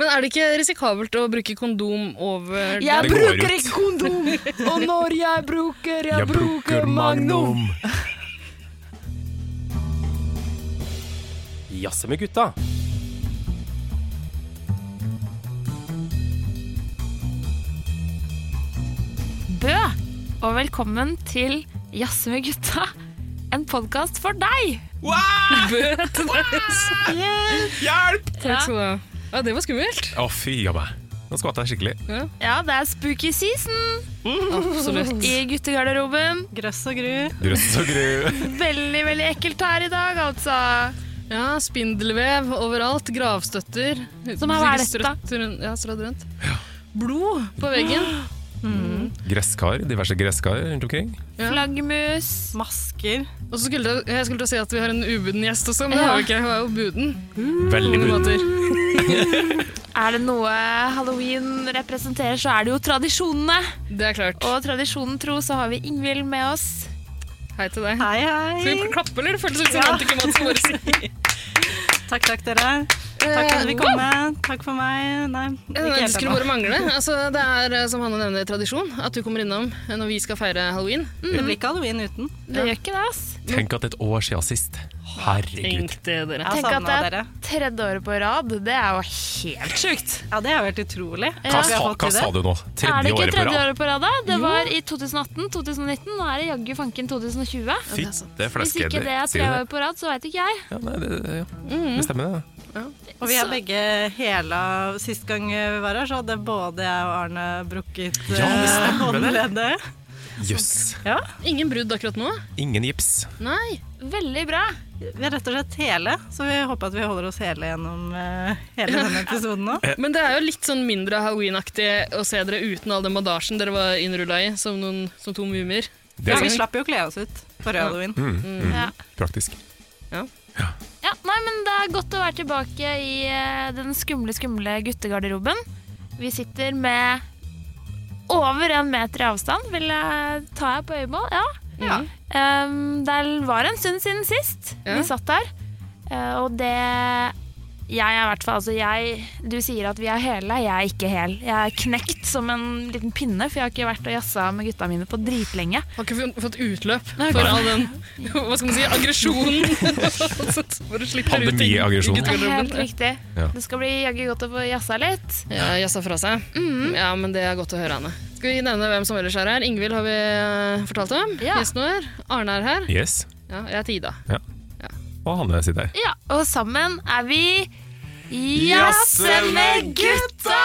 Men er det ikke risikabelt å bruke kondom over Jeg den? Det går bruker ut. ikke kondom, og når jeg bruker, jeg, bruker magnum. Jazze med gutta. Bø, og velkommen til Jazz med gutta, en podkast for deg. Bø til deg. Hjelp! Takk skal du ha. Ja, det var skummelt. Å, fy a meg. Nå skvatt jeg skikkelig. Ja, det er spooky season Absolutt. i guttegarderoben. Grøss og gru. Drøss og gru. Veldig, veldig ekkelt her i dag, altså. Ja, Spindelvev overalt. Gravstøtter. Som er hva er Strødd dette? rundt- Ja, strødd rundt. Blod på veggen. Gresskar. Diverse gresskar rundt omkring. Ja. Flaggermus. Masker. Og så skulle jeg, jeg skulle til å si at vi har en ubuden gjest også, men det Ja. har vi ikke. Hun er jo buden. på Veldig mange bud. måter. Er det noe halloween representerer, så er det jo tradisjonene. Det er klart. Og tradisjonen tro så har vi Ingvild med oss. Hei til deg. Hei, Skal hei. vi klappe, eller? Det føles litt sånn som Ja. antikrematisk vår. Takk, takk, dere. Takk for at vi kom. med. Takk for meg. Nei, ikke Det helt skulle ennå. bare mangle. Altså, det er, eh, som Hanne nevner, tradisjon at du kommer innom eh, når vi skal feire halloween. Det blir ikke halloween uten. Det gjør ikke det, ass. Tenk at det er et år siden sist. Herregud. Tenk det, dere. Jeg har Tenk at savna det- dere. Tredje året på rad, det er jo helt sjukt. Ja, det har vært utrolig. Hva Ja. Vi sa, har fått hva til sa det. du nå? er det Tredje ikke året på tredje rad? året på rad, da? Det var i 2018, 2019, nå er det jaggu fanken 2020. Fytte Hvis ikke flaskehedder. det er tre år på rad, så veit ikke jeg. Ja, nei, det, det- ja. det stemmer, det. Og vi er begge hela Sist gang vi var her, så hadde både jeg og Arne brukket Ja, det eh, stemmer det. håndleddet. Jøss. Ja. Ingen brudd akkurat nå? Ingen gips. Nei. Veldig bra. Vi er rett og slett hele, så vi håper at vi holder oss hele gjennom eh, hele denne episoden nå. Men det er jo litt sånn mindre halloweenaktig å se dere uten all den bandasjen dere var innrulla i, som, noen, som to mumier. Det Ja, er Mm, vi slapp jo å kle oss ut for halloween. Ja. praktisk. ja, Nei, men det er godt å være tilbake i eh, den skumle, skumle guttegarderoben. Vi sitter med over en meter i avstand, vil jeg ta her på øyemål. Ja. Ja. Ehm, det var en stund siden sist Ja. vi satt der. Eh, og det Jeg er i hvert fall altså jeg, Du sier at vi er hele, jeg er ikke hel. Jeg er knekt som en liten pinne, for jeg har ikke vært og jazza med gutta mine på dritlenge. Har ikke fun- fått utløp for all den hva skal man si, aggresjonen. Bare slipper ut i- i Pandemiaggresjonen. Det er helt guttegarderoben. riktig. Ja. Det skal bli jaggu godt å få jazza litt. Ja, jassa fra seg. Ja, men det er godt å høre, Anne. Skal vi nevne hvem som ellers er her? Ingvild har vi eh, fortalt om. Ja. Gjesten vår. Arne er her. Yes. Ja, jeg heter Ida. Og Hanne sitter her. Ja, og sammen er vi Jazze med gutta!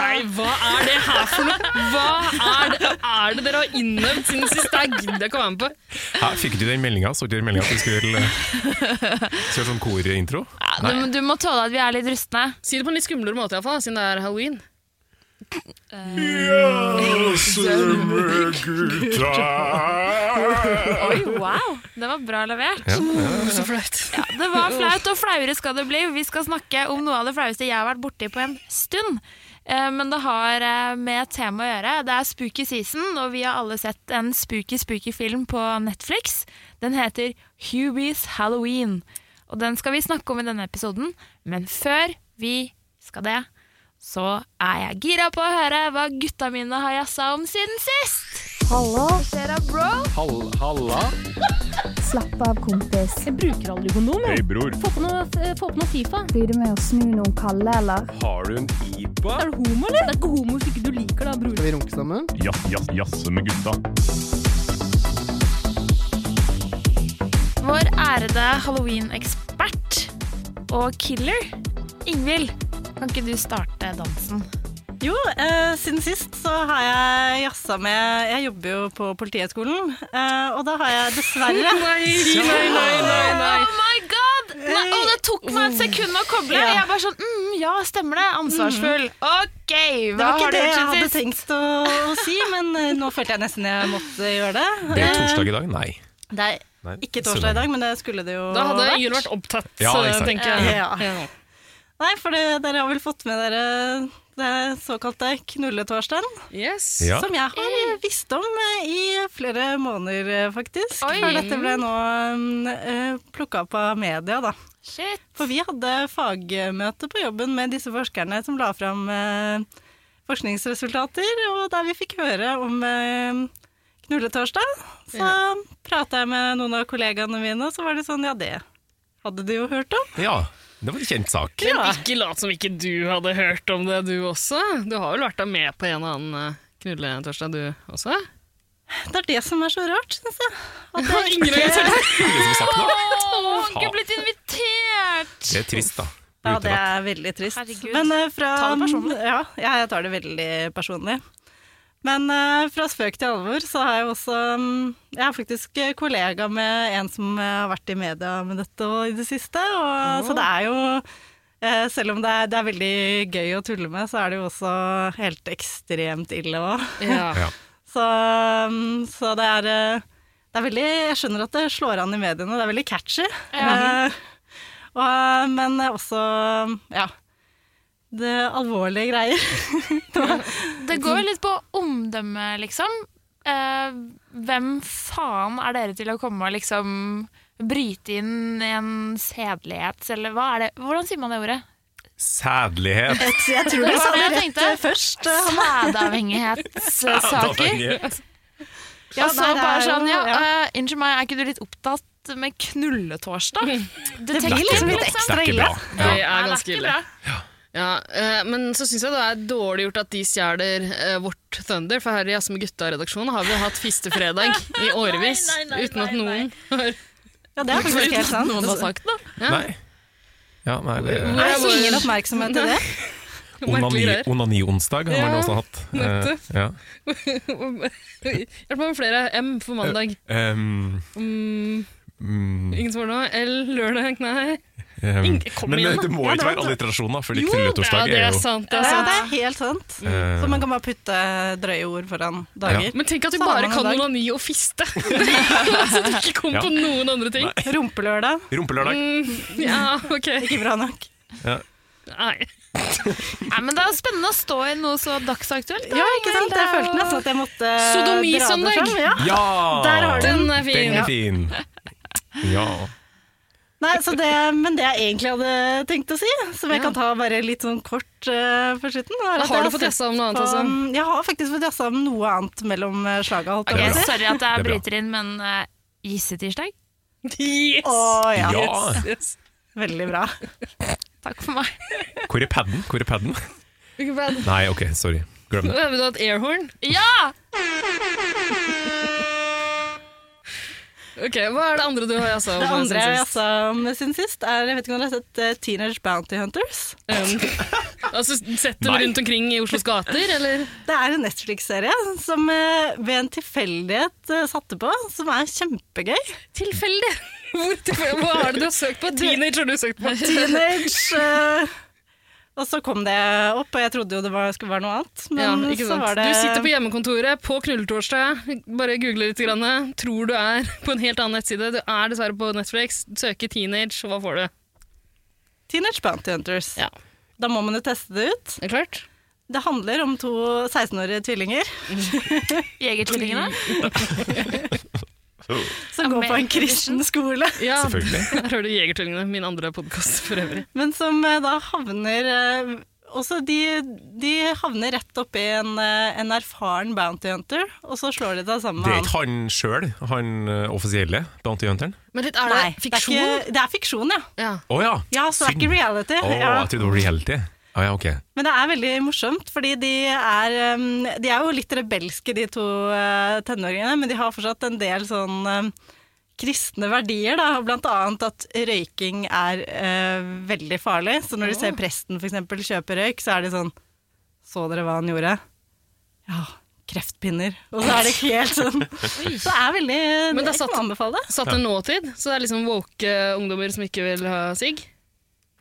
Nei, hva er det her for noe? Hva er det, er det dere har innøvd siden sist? Det gidder jeg ikke å være med på. Hæ, fikk du den meldinga? Så du den meldinga at vi skulle kjøre sånn korintro? Ja, du, du må tåle at vi er litt rustne. Si det på en litt skumlere måte, i hvert fall, siden det er halloween. Oi, wow! Det var bra levert. Mm, Så flaut. Det var flaut, og flauere skal det bli. Vi skal snakke om noe av det flaueste jeg har vært borti på en stund. Eh, Men det har eh, med et tema å gjøre. Det er spooky season, og vi har alle sett en spooky, spooky film på Netflix. Den heter Hubies Halloween, og den skal vi snakke om i denne episoden. Men før vi skal det, så er jeg gira på å høre hva gutta mine har jazza om siden sist. Hva skjer da, bro? Slapp av, kompis. Jeg bruker aldri kondom. jeg. Hei, bror. Få på noe, eh, få på noe Fifa. Blir det med å snu noen kalde, eller? Har du en IPA? Er du homo, eller? Det er ikke homo hvis ikke du liker det, bror. Skal vi runke sammen? Jazze med gutta. Vår ærede halloween-ekspert og killer, Ingvild, kan ikke du starte dansen? Jo, eh, siden sist så har jeg jazza med Jeg jobber jo på Politihøgskolen, eh, og da har jeg dessverre Nei, nei, nei, nei, nei. Oh my god! Nei, å, det tok meg et sekund å koble. Ja. Mm. Jeg bare sånn mm, Ja, stemmer det. Ansvarsfull. OK, Det hva var har ikke du det jeg gjort hadde siden sist? tenkt å, å si, men eh, nå følte jeg nesten jeg måtte gjøre det. Det er torsdag i dag? Nei. Det er Nei. ikke torsdag i dag, men det skulle det jo Da hadde Jul vært opptatt, Ja, ikke sant. tenker jeg. Ja. Nei, for det, dere har vel fått med dere det såkalte knulletorsdagen? Yes. Ja. Som jeg har visst om eh, i flere måneder, eh, faktisk. Oi. mm, For dette ble nå um, plukka opp eh, av media, da. Shit. For vi hadde fagmøte på jobben med disse forskerne som la fram eh, forskningsresultater, og der vi fikk høre om eh, knulletorsdag, så Ja. prata jeg med noen av kollegaene mine, og så var det sånn ja, det hadde de jo hørt om. Ja, det var en kjent sak. Men ikke lat som ikke du hadde hørt om det, du også. Du har vel vært da med på en og annen eh, knulletorsdag, du også? Det er det som er så rart, syns jeg. At det Ingen av dere tør- Ingen som har sagt noe. Åh, ikke Faen. blitt invitert! Det er trist, da. Ja, Utelatt. det er veldig trist. Herregud. Men eh, fra, Ta det personlig. Ja, ja, jeg tar det veldig personlig. Men eh, fra spøk til alvor så har jeg også mm, Jeg er faktisk eh, kollega med en som eh, har vært i media med dette og i det siste. Og, Så det er jo eh, Selv om det er, det er veldig gøy å tulle med, så er det jo også helt ekstremt ille òg. Ja. Ja. Så, mm, så det er eh, Det er veldig Jeg skjønner at det slår an i mediene, det er veldig catchy. Eh, og, eh, men også mm, Ja. Det er alvorlige greier. Det går jo litt på omdømme, liksom. Eh, hvem faen er dere til å komme og liksom bryte inn i en sedelighet, eller hva er det? Hvordan sier man det ordet? Sædlighet. Jeg tror Det var det jeg tenkte. først. eh, Sædavhengighetssaker. Sædavhengighet. Ja, så nei, det er bare sånn, jo- ja, ja. eh, unnskyld meg, er ikke du litt opptatt med knulletorsdag? Det Det er tenker ikke jeg bra. liksom. Det er ikke bra. Det Ja. er Nei, ganske ikke ille. bra. Ja, eh, men så syns jeg det er dårlig gjort at de stjeler eh, vårt Thunder, for her i Jazz med gutta-redaksjonen har vi jo hatt fistefredag i årevis Nei, nei, nei, uten at nei, nei. noen har Ja, det er faktisk helt sant. Noen har sagt det. Ja. Nei. Ja, nei, det Det Nei, er så bare- ingen oppmerksomhet til det. merkelige Onani- greier. Onani-onsdag har man Ja, også hatt. Eh, nettopp. ja. Hjelp meg med flere. M for mandag. Um, Mm, mm, ingen svar nå. L lørdag. Nei. um, Ingen- kom men igjen, det må Ja, det ikke var- være alliterasjon, da, fordi Jo, det er, knulletorsdag det er er jo sant. Det Ja, er sant. det er helt sant. eh, Så man kan bare putte drøye ord foran dager. Men tenk at vi Samme bare kan dag. onani og fiste! Så du ikke kom Ja. på noen andre ting. Rumpelørdag, Rumpelørdag. Mm, ja, ok. ikke bra nok. Nei. Nei, men det er spennende å stå i noe så dagsaktuelt. da. Ja, ikke sant? Jeg følte nesten at jeg måtte eh, Sodomi dra det søndag. fram, Ja. Ja! Der har du den. Den er fin. Den Ja. er fin. Ja. Nei, så det, men det jeg egentlig hadde tenkt å si, som jeg Ja. kan ta bare litt sånn kort eh, på slutten er Da at har jeg du fått sett jassa om noe annet, på- altså. Jeg har faktisk fått jassa om noe annet mellom eh, slaga. Holdt Det Ok, er jeg på bra. å si. sorry at jeg Det er bra. bryter inn, men uh, gissetirsdag? Yes! Å ja. Ja. yes. Veldig bra. Takk for meg. Hvor er padden? Hvor er padden? Ikke bad. Nei, OK, sorry. Glem det. Vil du ha et airhorn? Ja! Ok, Hva er det andre du har altså, jassa om? Det andre siden altså jeg sist? jassa om siden sist, er jeg vet ikke om dere har sett eh, Teenage Bounty Hunters? Um, altså, Sett dem Nei. rundt omkring i Oslos gater, eller? Det er en Netflix-serie som eh, ved en tilfeldighet eh, satte på, som er kjempegøy. Tilfeldig! Hvor tilfeldig? Hva er det du har søkt på? Teenage har du søkt på. Teenage eh, Og så kom det opp, og jeg trodde jo det var, skulle være noe annet. Ja, Men ikke så sant. var det Du sitter på hjemmekontoret på knulletorsdag, bare googler litt, grann, tror du er på en helt annen nettside. Du er dessverre på Netflix, søker teenage, og hva får du? Teenage Bounty Hunters. Ja. Da må man jo teste det ut. Det er klart. Det handler om to 16-årige tvillinger Jegertvillingene. som går på en American kristen skole, Ja, Selvfølgelig. Her hører du Jegertvillingene, min andre podkast for øvrig. men som eh, da havner eh, også de, de havner rett oppi en, eh, en erfaren bounty hunter, og så slår de seg sammen Det med er han. ikke han sjøl, han eh, offisielle Bounty Hunteren? Men litt, er det Nei, fiksjon? Det er, ikke, det er fiksjon, ja. Ja. Å ja! Ja, så det er ikke reality. Å, ja. jeg trodde det var reality. Å ja, OK. Men det er veldig morsomt, fordi de er, um, de er jo litt rebelske, de to eh, tenåringene, men de har fortsatt en del sånn um, kristne verdier, da. Blant annet at røyking er eh, veldig farlig. Så når de ser presten for eksempel kjøpe røyk, så er de sånn Så dere hva han gjorde? Ja, kreftpinner. Og så er det helt sånn Så det er veldig Men det er Jeg satt- kan anbefale det. Satt en nåtid, så det er liksom woke eh, ungdommer som ikke vil ha sigg.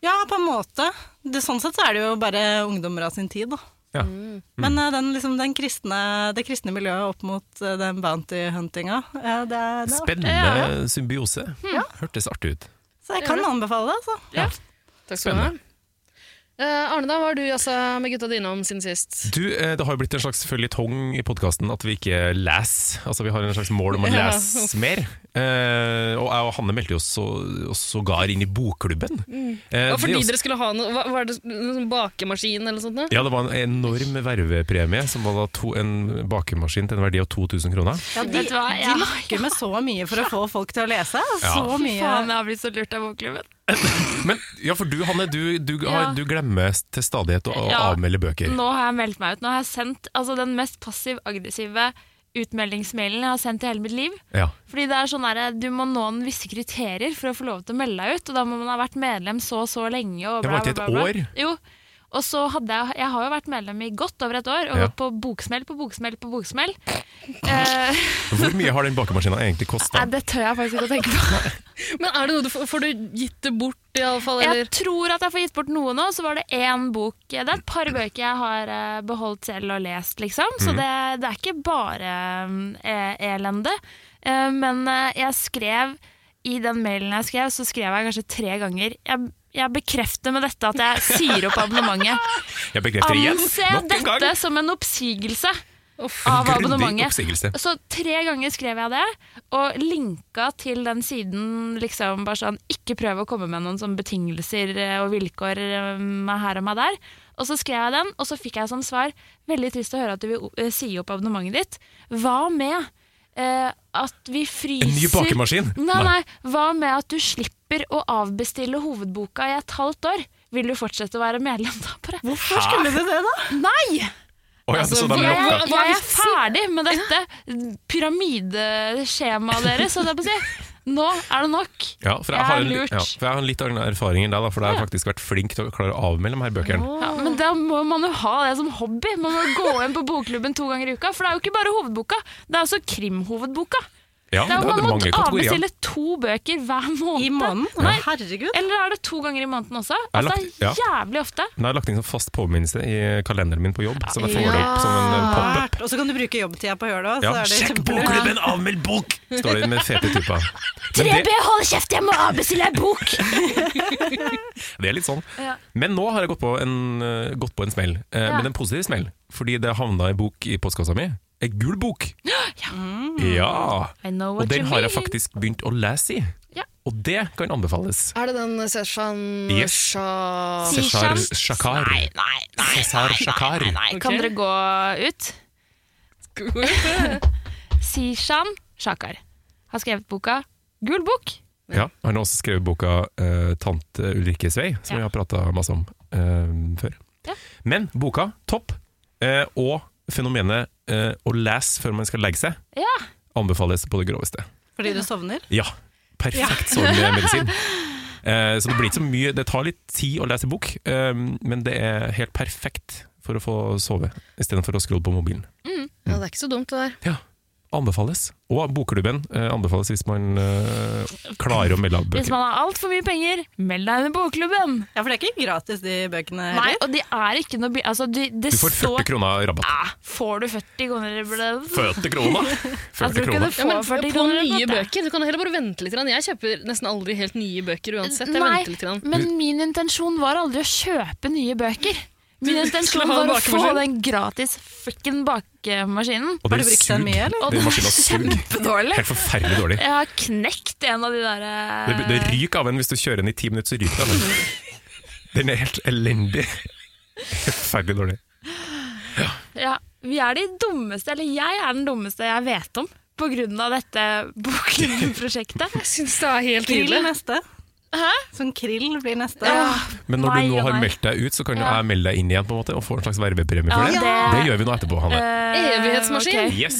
Ja, på en måte. Det, sånn sett så er det jo bare ungdommer av sin tid, da. Ja. Mm. Men eh, den, liksom, den kristne, det kristne miljøet opp mot eh, den bounty-huntinga, eh, det er det. er- Spennende symbiose. Hørtes artig ut. Så jeg kan anbefale det, altså. Takk skal du ha. Eh, Arne, da, hva har du jazza med gutta dine om siden sist? Du, eh, det har jo blitt en slags føljetong i podkasten at vi ikke leser. Altså, vi har en slags mål om å Ja. lese mer. Eh, og jeg og Hanne meldte jo så- oss sågar inn i bokklubben. Eh, Og det er fordi også- dere skulle ha noe, hva, hva er det, noe sånn bakemaskin eller noe sånt? da? ja, det var en enorm vervepremie, som var da to, en bakemaskin til en verdi av 2000 kroner. Ja, de, Vet du hva? de Ja. lokker med så mye for å få folk til å lese. Ja. Så mye. Faen, jeg har blitt så lurt av bokklubben. Men ja, for du, Hanne, du, du, Ja. har- du glemmer til stadighet å, å Ja. avmelde bøker. Nå har jeg meldt meg ut. Nå har jeg sendt altså, den mest passiv-aggressive utmeldingsmailen jeg har sendt i hele mitt liv. Ja. Fordi det er sånn der, Du må nå en visse kriterier for å få lov til å melde deg ut. Og da må man ha vært medlem så og så lenge. Og Det bla, var ikke bla, et bla, år? bla. Jo. Og så hadde jeg, jeg har jo vært medlem i godt over et år, og Ja. gått på boksmell på boksmell på boksmell. Eh, Hvor mye har den bakemaskina egentlig nei, kosta? det tør jeg faktisk ikke å tenke på. Men er det noe du får, får du gitt det bort, iallfall? Jeg Eller? tror at jeg får gitt bort noe nå, så var det én bok Det er et par bøker jeg har eh, beholdt selv og lest, liksom. Så Mhm. det, det er ikke bare eh, elende. Eh, Men eh, jeg skrev I den mailen jeg skrev, så skrev jeg kanskje tre ganger Jeg, jeg bekrefter med dette at jeg sier opp abonnementet. Jeg bekrefter igjen, Anse nok en gang! dette som en oppsigelse Uff. av Grundig abonnementet. oppsigelse. Så tre ganger skrev jeg det, og linka til den siden liksom bare sånn Ikke prøv å komme med noen sånn betingelser eh, og vilkår eh, meg her og meg der. Og så skrev jeg den, og så fikk jeg som svar Veldig trist å høre at du vil eh, si opp abonnementet ditt. Hva med eh, at vi fryser En ny bakemaskin? Nei, nei. Hva med at du slipper å avbestille hovedboka i et halvt år? Vil du fortsette å være medlem da? Bare, Hvorfor skulle du det, da? Nei! Å ja, Altså, så de hva- lokka. Jeg, jeg er ferdig med dette pyramideskjemaet deres. holdt jeg på å si. Nå er det nok. Ja, for jeg, Jeg har er en, lurt. ja, for jeg har en litt annen erfaring enn deg, da, for jeg har faktisk vært flink til å klare å avmelde de her bøkene. Ja, men da må man jo ha det som hobby. Man må gå inn på bokklubben to ganger i uka. For det er jo ikke bare hovedboka, det er også krimhovedboka. Ja, Det er, det man er må mange kategorier. avbestille to bøker hver måned. I måneden? Nei, Herregud. eller er det to ganger i måneden også? Jeg Altså, lagt- ja. Jævlig ofte. Nå har jeg lagt inn sånn fast påminnelse i kalenderen min på jobb, så jeg får det opp som en eh, pop-up. Og så kan du bruke jobbtida på å gjøre det. Ja, også, Så er det sjekk kjempelurt. bokklubben, avmeld bok! Står det med fete tupper. Men 3B, det, hold kjeft, jeg må avbestille ei bok! det er litt sånn. Ja. Men nå har jeg gått på en, eh, gått på en smell, eh, Ja. men en positiv smell. Fordi det havna en bok i postkassa mi. Ei gul bok! Ja! I know Og what den you har jeg mean. faktisk begynt å lese i. Ja. Og det kan anbefales. Er det den eh, Seshan Yes. Shah Cesar Sishan? Shakar. Nei, nei, nei, Cesar Shakar. nei, nei. Kan Ok. dere gå ut? Sishan Shakar har skrevet boka Gul bok. Ja, Han har også skrevet boka eh, 'Tante Ulrikkes vei', som vi Ja. har prata masse om eh, før. Ja. Men boka, topp. Eh, og fenomenet eh, å lese før man skal legge seg, Ja. anbefales på det groveste. Fordi du sovner? Ja, perfekt sånn eh, medisin. Eh, så det blir ikke så mye Det tar litt tid å lese bok, eh, men det er helt perfekt for å få sove, istedenfor å scrolle på mobilen. Ja, det er ikke så dumt, det der. Anbefales. Og bokklubben eh, anbefales hvis man eh, klarer å melde av Hvis bøker. man har altfor mye penger, meld deg inn i bokklubben! Ja, for det er ikke gratis, de bøkene Nei, heller. og de er ikke noe bi... Altså, de, det Du får 40 står kroner rabatt. ah, Får du 40 kroner? Altså, 40 kroner! 40 du kunne kroner. Ja, få men 40 på kroner nye rabatt, ja. bøker. Du kan heller bare vente litt. grann. Jeg kjøper nesten aldri helt nye bøker uansett. Jeg Nei, venter litt. grann. men min intensjon var aldri å kjøpe nye bøker. Min Skulle intensjon ha en var å få bakemaskin. den gratis frikken bakemaskinen. Og Har du brukt sug. den mye, eller? Og Den den maskinen suger. kjempedårlig. Helt forferdelig dårlig. Jeg har knekt en av de der Det, eh, det ryker av den hvis du kjører den i ti minutter, så ryker den av den. Den er helt elendig. Helt Forferdelig dårlig. ja, Vi er de dummeste, eller jeg er den dummeste jeg vet om, på grunn av dette bokklubbprosjektet. Jeg syns det er helt Krill nydelig. neste. Hæ? Sånn krill blir neste. Ja, Men når du Nei nå og har nei. meldt deg ut, så kan jo Ja. jeg melde deg inn igjen på en måte og få en slags vervepremie for det. Det gjør vi nå etterpå, Hanne. eh, Evighetsmaskin. ok. Yes!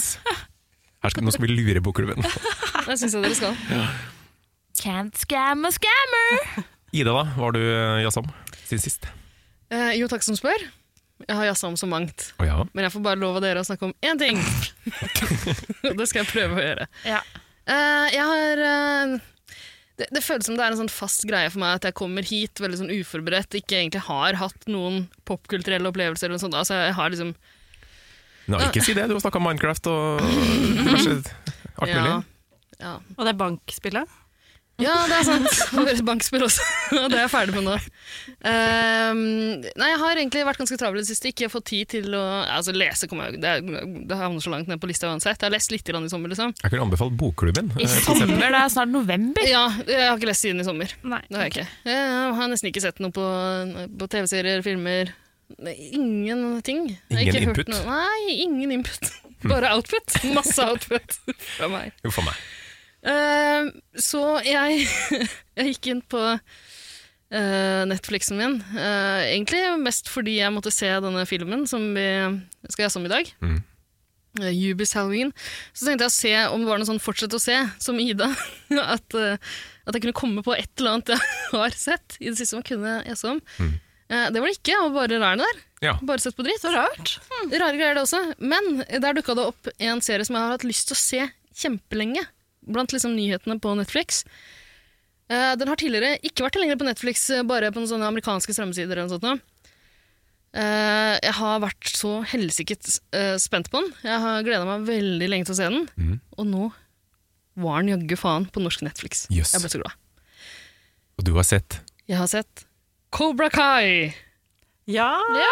Her skal, nå skal vi lure bokklubben. Det syns jeg dere skal. Can't scam a scammer. Ida, da, hva har du eh, jazz om siden sist? Eh, jo, takk som spør. Jeg har jazza om så mangt. Å ja. Men jeg får bare lov av dere å snakke om én ting. Og det skal jeg prøve å gjøre. Ja. Eh, jeg har eh, det, det føles som det er en sånn fast greie for meg at jeg kommer hit veldig sånn uforberedt, ikke egentlig har hatt noen popkulturelle opplevelser eller noe sånt. Altså, jeg har liksom Nei, ikke si det. Du har snakka om Minecraft og diverse alt mulig. ja. Og det er bankspillet. Ja, det er sant. Og høres bankspill også. Og det er jeg ferdig med nå. Ehm, nei, jeg har egentlig vært ganske travel i det siste. Ikke fått tid til å altså, lese. Kommer jeg, det, er- det havner så langt ned på lista uansett. Jeg har lest litt grann i sommer, liksom. Jeg kunne anbefalt Bokklubben. I sommer, det er snart november. Ja, jeg har ikke lest siden i sommer. Nei. Det har jeg ikke. Jeg har nesten ikke sett noe på, på TV-serier, filmer. Nei, Ingenting. Jeg har Ingen ikke hørt input? noe- Nei, ingen input. Bare output. Masse output fra meg. Uff a meg. Eh, så jeg, jeg gikk inn på eh, Netflixen min, eh, egentlig mest fordi jeg måtte se denne filmen som vi skal jazze om i dag. Mm. Eh, Jubis Halloween. Så tenkte jeg å se om det var noe sånn 'fortsett å se', som Ida. At, eh, at jeg kunne komme på et eller annet jeg har sett i det siste som jeg kunne jazze om. Eh, det var det ikke, jeg var bare rar der. Mm. Ja. Bare sett på dritt. Så rart. Rare greier det også. Men der dukka det opp en serie som jeg har hatt lyst til å se kjempelenge. Blant liksom nyhetene på Netflix. Eh, den har tidligere ikke vært tilgjengelig på Netflix, eh, bare på noen sånne amerikanske strømmesider. eller noe sånt. nå. Eh, jeg har vært så helsikket eh, spent på den. Jeg har gleda meg veldig lenge til å se den. Mhm. Og nå var den jaggu faen på norsk Netflix. Jøss. Jeg ble så glad. Og du har sett Jeg har sett Cobra Kai. Ja,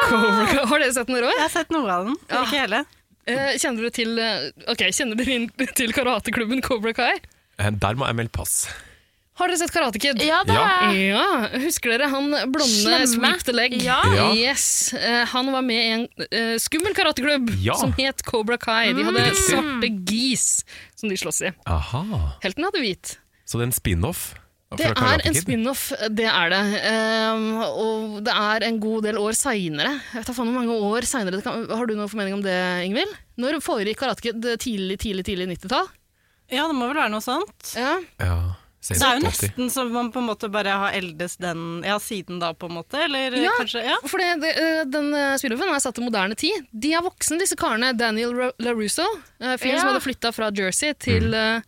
Cobra Kai. Har dere sett den, Roy? jeg har sett noe av den. Ja. Ikke hele. Eh, kjenner dere til eh, Ok, kjenner dere inn til karateklubben Cobra Kai? Eh, Der må jeg melde pass. Har dere sett Karate Kid? Ja da! Ja. Ja, husker dere han blonde Slemme. Sweep the Leg? Ja. Ja. Yes, eh, Han var med i en eh, skummel karateklubb Ja. som het Cobra Kai. De hadde Riktig. svarte gis som de sloss i. Aha. Helten hadde hvit. Så det er en spin-off? fra Det er Karate en Kid? spin-off, det er det. Ehm, og det er en god del år seinere. Jeg vet da faen hvor mange år seinere. det kan- Har du noen formening om det, Ingvild? Når foregikk Karate Kid? Tidlig, tidlig, tidlig 90-tall? Ja, det må vel være noe sånt. Ja. Ja. Det er jo nesten som man på en måte bare har eldes den ja, siden da, på en måte. Eller Ja. kanskje Ja. For det, det, eh, den eh, spin-offen er satt til moderne tid. De er voksne, disse karene. Daniel Ra- LaRusso, eh, fyren som Ja. hadde flytta fra Jersey til Mm. eh,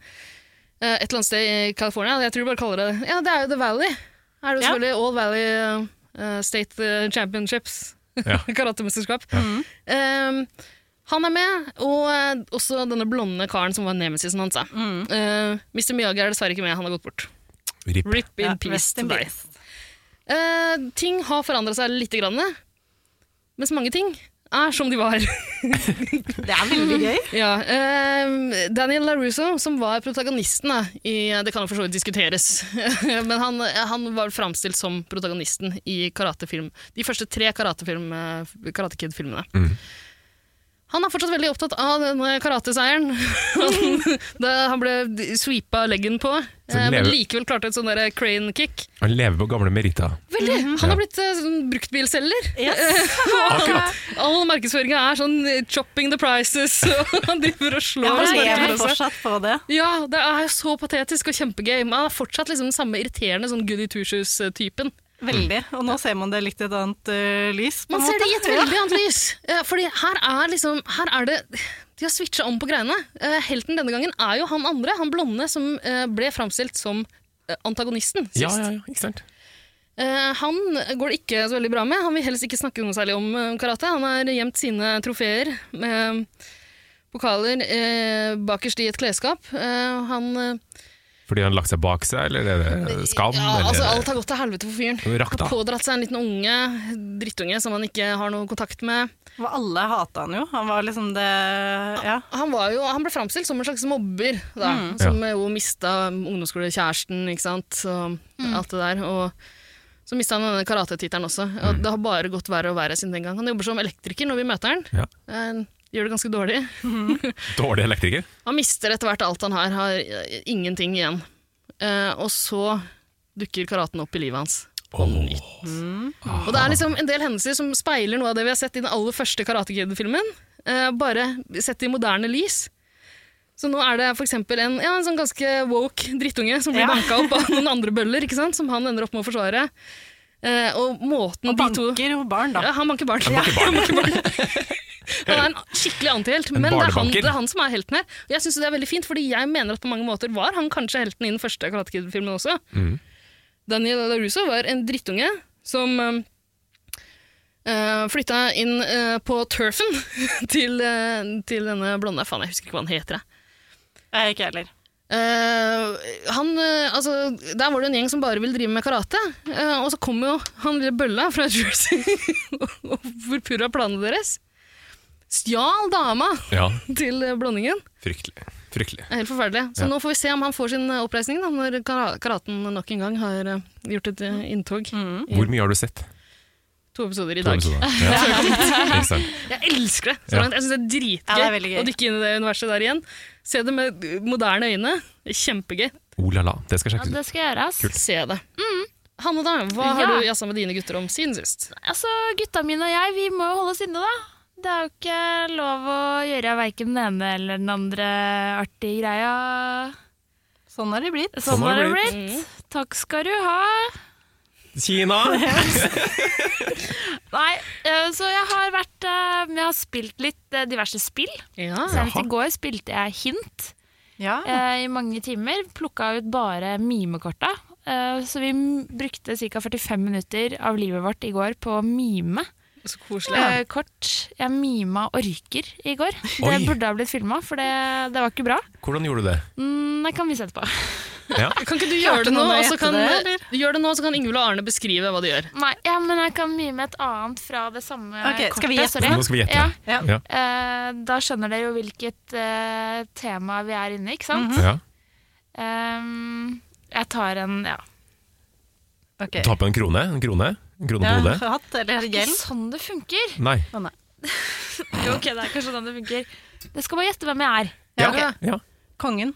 eh, et eller annet sted i California. Jeg tror de bare kaller det Ja, det er jo The Valley. Er det jo Ja. selvfølgelig All Valley eh, State eh, Championships. Ja. Karatemesterskap. Eh, han er med, og eh, også denne blonde karen som var nemesisen hans. da. Eh, Mr. Miyagi er dessverre ikke med, han har gått bort. Rip. Rip in Ja, peace rest in til deg. peace. Eh, ting har forandra seg litt, grann, mens mange ting er som de var. Det er veldig gøy. ja, eh, Daniel LaRusso, som var protagonisten da, i Det kan jo for så vidt diskuteres, men han, han var framstilt som protagonisten i karatefilm. De første tre karatefilm, eh, Karate Kid-filmene. Mm. Han er fortsatt veldig opptatt av denne karateseieren. Han- da han ble sweepa leggen på, Så eh, men lever- likevel klarte et sånn der crane kick. Han lever på gamle meritter. Veldig! Han Ja. har blitt eh, sånn bruktbilselger. Yes. Akkurat. All markedsføringa er sånn eh, 'chopping the prices', og han driver og slår. og Jeg bare sparker lever på seg. fortsatt på det. Ja, det er jo så patetisk og kjempegøy. Men han er fortsatt liksom den samme irriterende sånn goody two-shoes-typen. Veldig. Og nå ser man det litt i et annet ø, lys, på Man en ser måte. det i et veldig annet lys. Eh, Fordi her er liksom Her er det De har switcha om på greiene. Eh, Helten denne gangen er jo han andre, han blonde, som eh, ble framstilt som eh, antagonisten sist. Ja, ja, ja, ikke sant? Eh, han går det ikke så veldig bra med. Han vil helst ikke snakke noe særlig om eh, karate. Han har gjemt sine trofeer, eh, pokaler, eh, bakerst i et klesskap. Eh, han eh, Fordi han har lagt seg bak seg, eller er det skam? ja, eller? altså, Alt har gått til helvete for fyren. Rakk, Har da. pådratt seg en liten unge, drittunge, som han ikke har noe kontakt med. Og alle hata han jo. Han var liksom det Ja. Han, var jo, han ble framstilt som en slags mobber, da, som jo mista ungdomsskolekjæresten, ikke sant, og alt det der. Og så mista han denne karatetittelen også. Og Det har bare gått verre og verre siden den gang. Han jobber som elektriker når vi møter han. Ja. Eh, Gjør det ganske dårlig. Dårlig elektriker. Han mister etter hvert alt han har, har eh, ingenting igjen. Eh, og så dukker karaten opp i livet hans. Åh. Og det er liksom en del hendelser som speiler noe av det vi har sett i den aller første Karate Kid-filmen, eh, bare sett i moderne lys. Så nå er det for eksempel en, ja, en sånn ganske woke drittunge som blir Ja. banka opp av noen andre bøller, ikke sant? som han ender opp med å forsvare. Eh, og måten Og de to banker jo barn, da. ja, Han banker barn. banker Han, barn. banker barn. han er en skikkelig antihelt, En men det er, han, barnebanker. det er han som er helten her. Og jeg synes det er veldig fint, fordi jeg mener at på mange måter var han kanskje helten i den første Karate Kid-filmen også. Mhm. Daniel LaRusso var en drittunge som um, eh, flytta inn eh, på turfen til, eh, til denne blonde Faen, jeg husker ikke hva han heter. jeg. Jeg er ikke heller. Eh, han, eh, altså, der var det en gjeng som bare ville drive med karate. eh, og så kom jo han lille bølla fra Jersey og forpurra planene deres. Stjal dama Ja, til eh, blondingen. fryktelig. Fryktelig. Det er Helt forferdelig. Så Ja. nå får vi se om han får sin eh, oppreisning da, når kara- karaten nok en gang har eh, gjort et eh, Mm. inntog. Hvor mye har du sett? To episoder i To dag. episoder. Ja. Ikke sant? Jeg elsker det! Så Ja. langt. Jeg syns det er dritgøy Ja, det er veldig gøy. å dykke inn i det universet der igjen. Se det med eh, moderne øyne. Det er Kjempegøy. Oh la la, det skal Ja, sjekkes ut. det skal gjøres. Se det. Mm. Hanne, da, hva har Ja. du jazza med dine gutter om siden sist? Altså, gutta mine og jeg, vi må jo holde oss inne, da. Det er jo ikke lov å gjøre verken den ene eller den andre artige greia. Sånn har det blitt. Sånn har det blitt. Takk skal du ha. Kina! Nei, eh, så jeg har vært eh, Jeg har spilt litt eh, diverse spill. Ja. Senest Jaha. i går spilte jeg Hint Ja. eh, i mange timer. Plukka ut bare mimekorta. Eh, Så vi m- brukte ca. 45 minutter av livet vårt i går på å mime. Så koselig. Eh, kort. Jeg mima orker i går. Det Oi. burde ha blitt filma, for det, det var ikke bra. Hvordan gjorde du det? Mm, det kan vi se etterpå. Ja. Kan ikke du Klarte gjøre det nå, noen å og så gjette kan, det, eller? gjør det nå, så kan Ingvild og Arne beskrive hva de gjør? Nei, ja, men jeg kan mime et annet fra det samme Ok, kortet. skal vi gjette? sorry. Nå skal vi gjette. Ja. Ja. Ja. Eh, da skjønner dere jo hvilket eh, tema vi er inne i, ikke sant? Ja. Ehm, jeg tar en ja. Ok. Ta på en krone. En krone, en krone Ja, på hodet. hatt eller Ikke hjelm. sånn det funker! Nei. Jo, ok, det er kanskje sånn det funker. Dere skal bare gjette hvem jeg er. Ja, Ja. ok. Ja. Kongen.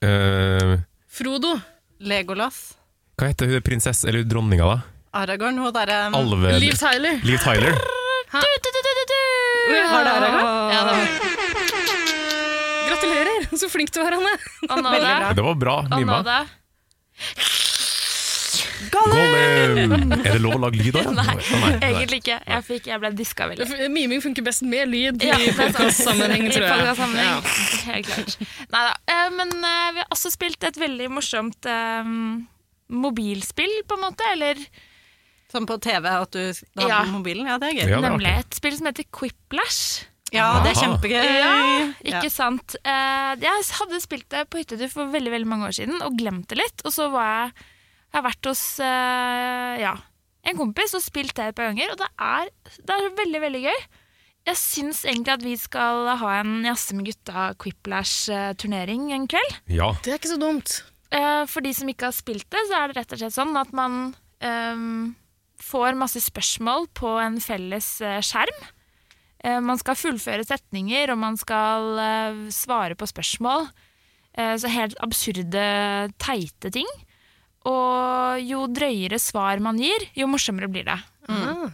Eh, Frodo. Legolas. hva heter hun prinsesse, eller dronninga, da? Aragorn. Hun eh, derre Alve... Mm. Liv Tyler. Liv Tyler. Du-du-du-du-du! Var det Aragorn? Ja, det var. det. Gratulerer! Så flink du er, Hanne. Anada. bra. Det var bra mima. Anada. Gollum! Er det lov å lage lyd da? Nei. nei, Egentlig ikke. Jeg, fikk, jeg ble diska veldig. Miming funker best med lyd Ja, i det er sant. podkast-sammenheng, tror I jeg. podcastsammenheng. Helt klart. Neida. Eh, Men eh, vi har også spilt et veldig morsomt eh, mobilspill, på en måte. Eller Som på TV, at du hadde Ja. mobilen. Ja, det er gøy. Ja, det er nemlig artig. et spill som heter Quiplash. Ja, det er Aha. kjempegøy. Ikke sant? Eh, Jeg hadde spilt det på hyttetur for veldig veldig mange år siden og glemt det litt. Og så var jeg, jeg har vært hos eh, ja, en kompis og spilt det et par ganger, og det er, det er veldig, veldig gøy. Jeg syns egentlig at vi skal ha en Jazze med gutta-quiplash-turnering en kveld. Ja. Det er ikke så dumt. Eh, For de som ikke har spilt det, så er det rett og slett sånn at man ehm, får masse spørsmål på en felles eh, skjerm. Eh, man skal fullføre setninger, og man skal eh, svare på spørsmål. Eh, så helt absurde, teite ting. Og jo drøyere svar man gir, jo morsommere blir det. Ah.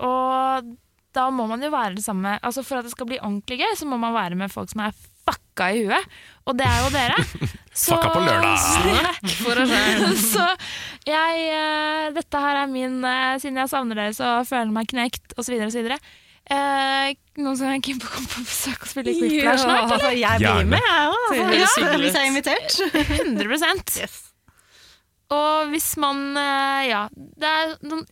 Og da må man jo være det samme Altså For at det skal bli ordentlig gøy, så må man være med folk som er fucka i huet. Og det er jo dere. Så- Fucka på lørdag. For å si- så jeg eh, Dette her er min eh, Siden jeg savner dere, så føler jeg meg knekt, osv. osv. Uh, noen som er keen på å komme på besøk og spille Quiplash snart? altså, jeg Gjerne. blir med, jeg Høres òg. hyggelig ut. Hvis jeg er invitert. 100 Og hvis man eh, Ja, det er noen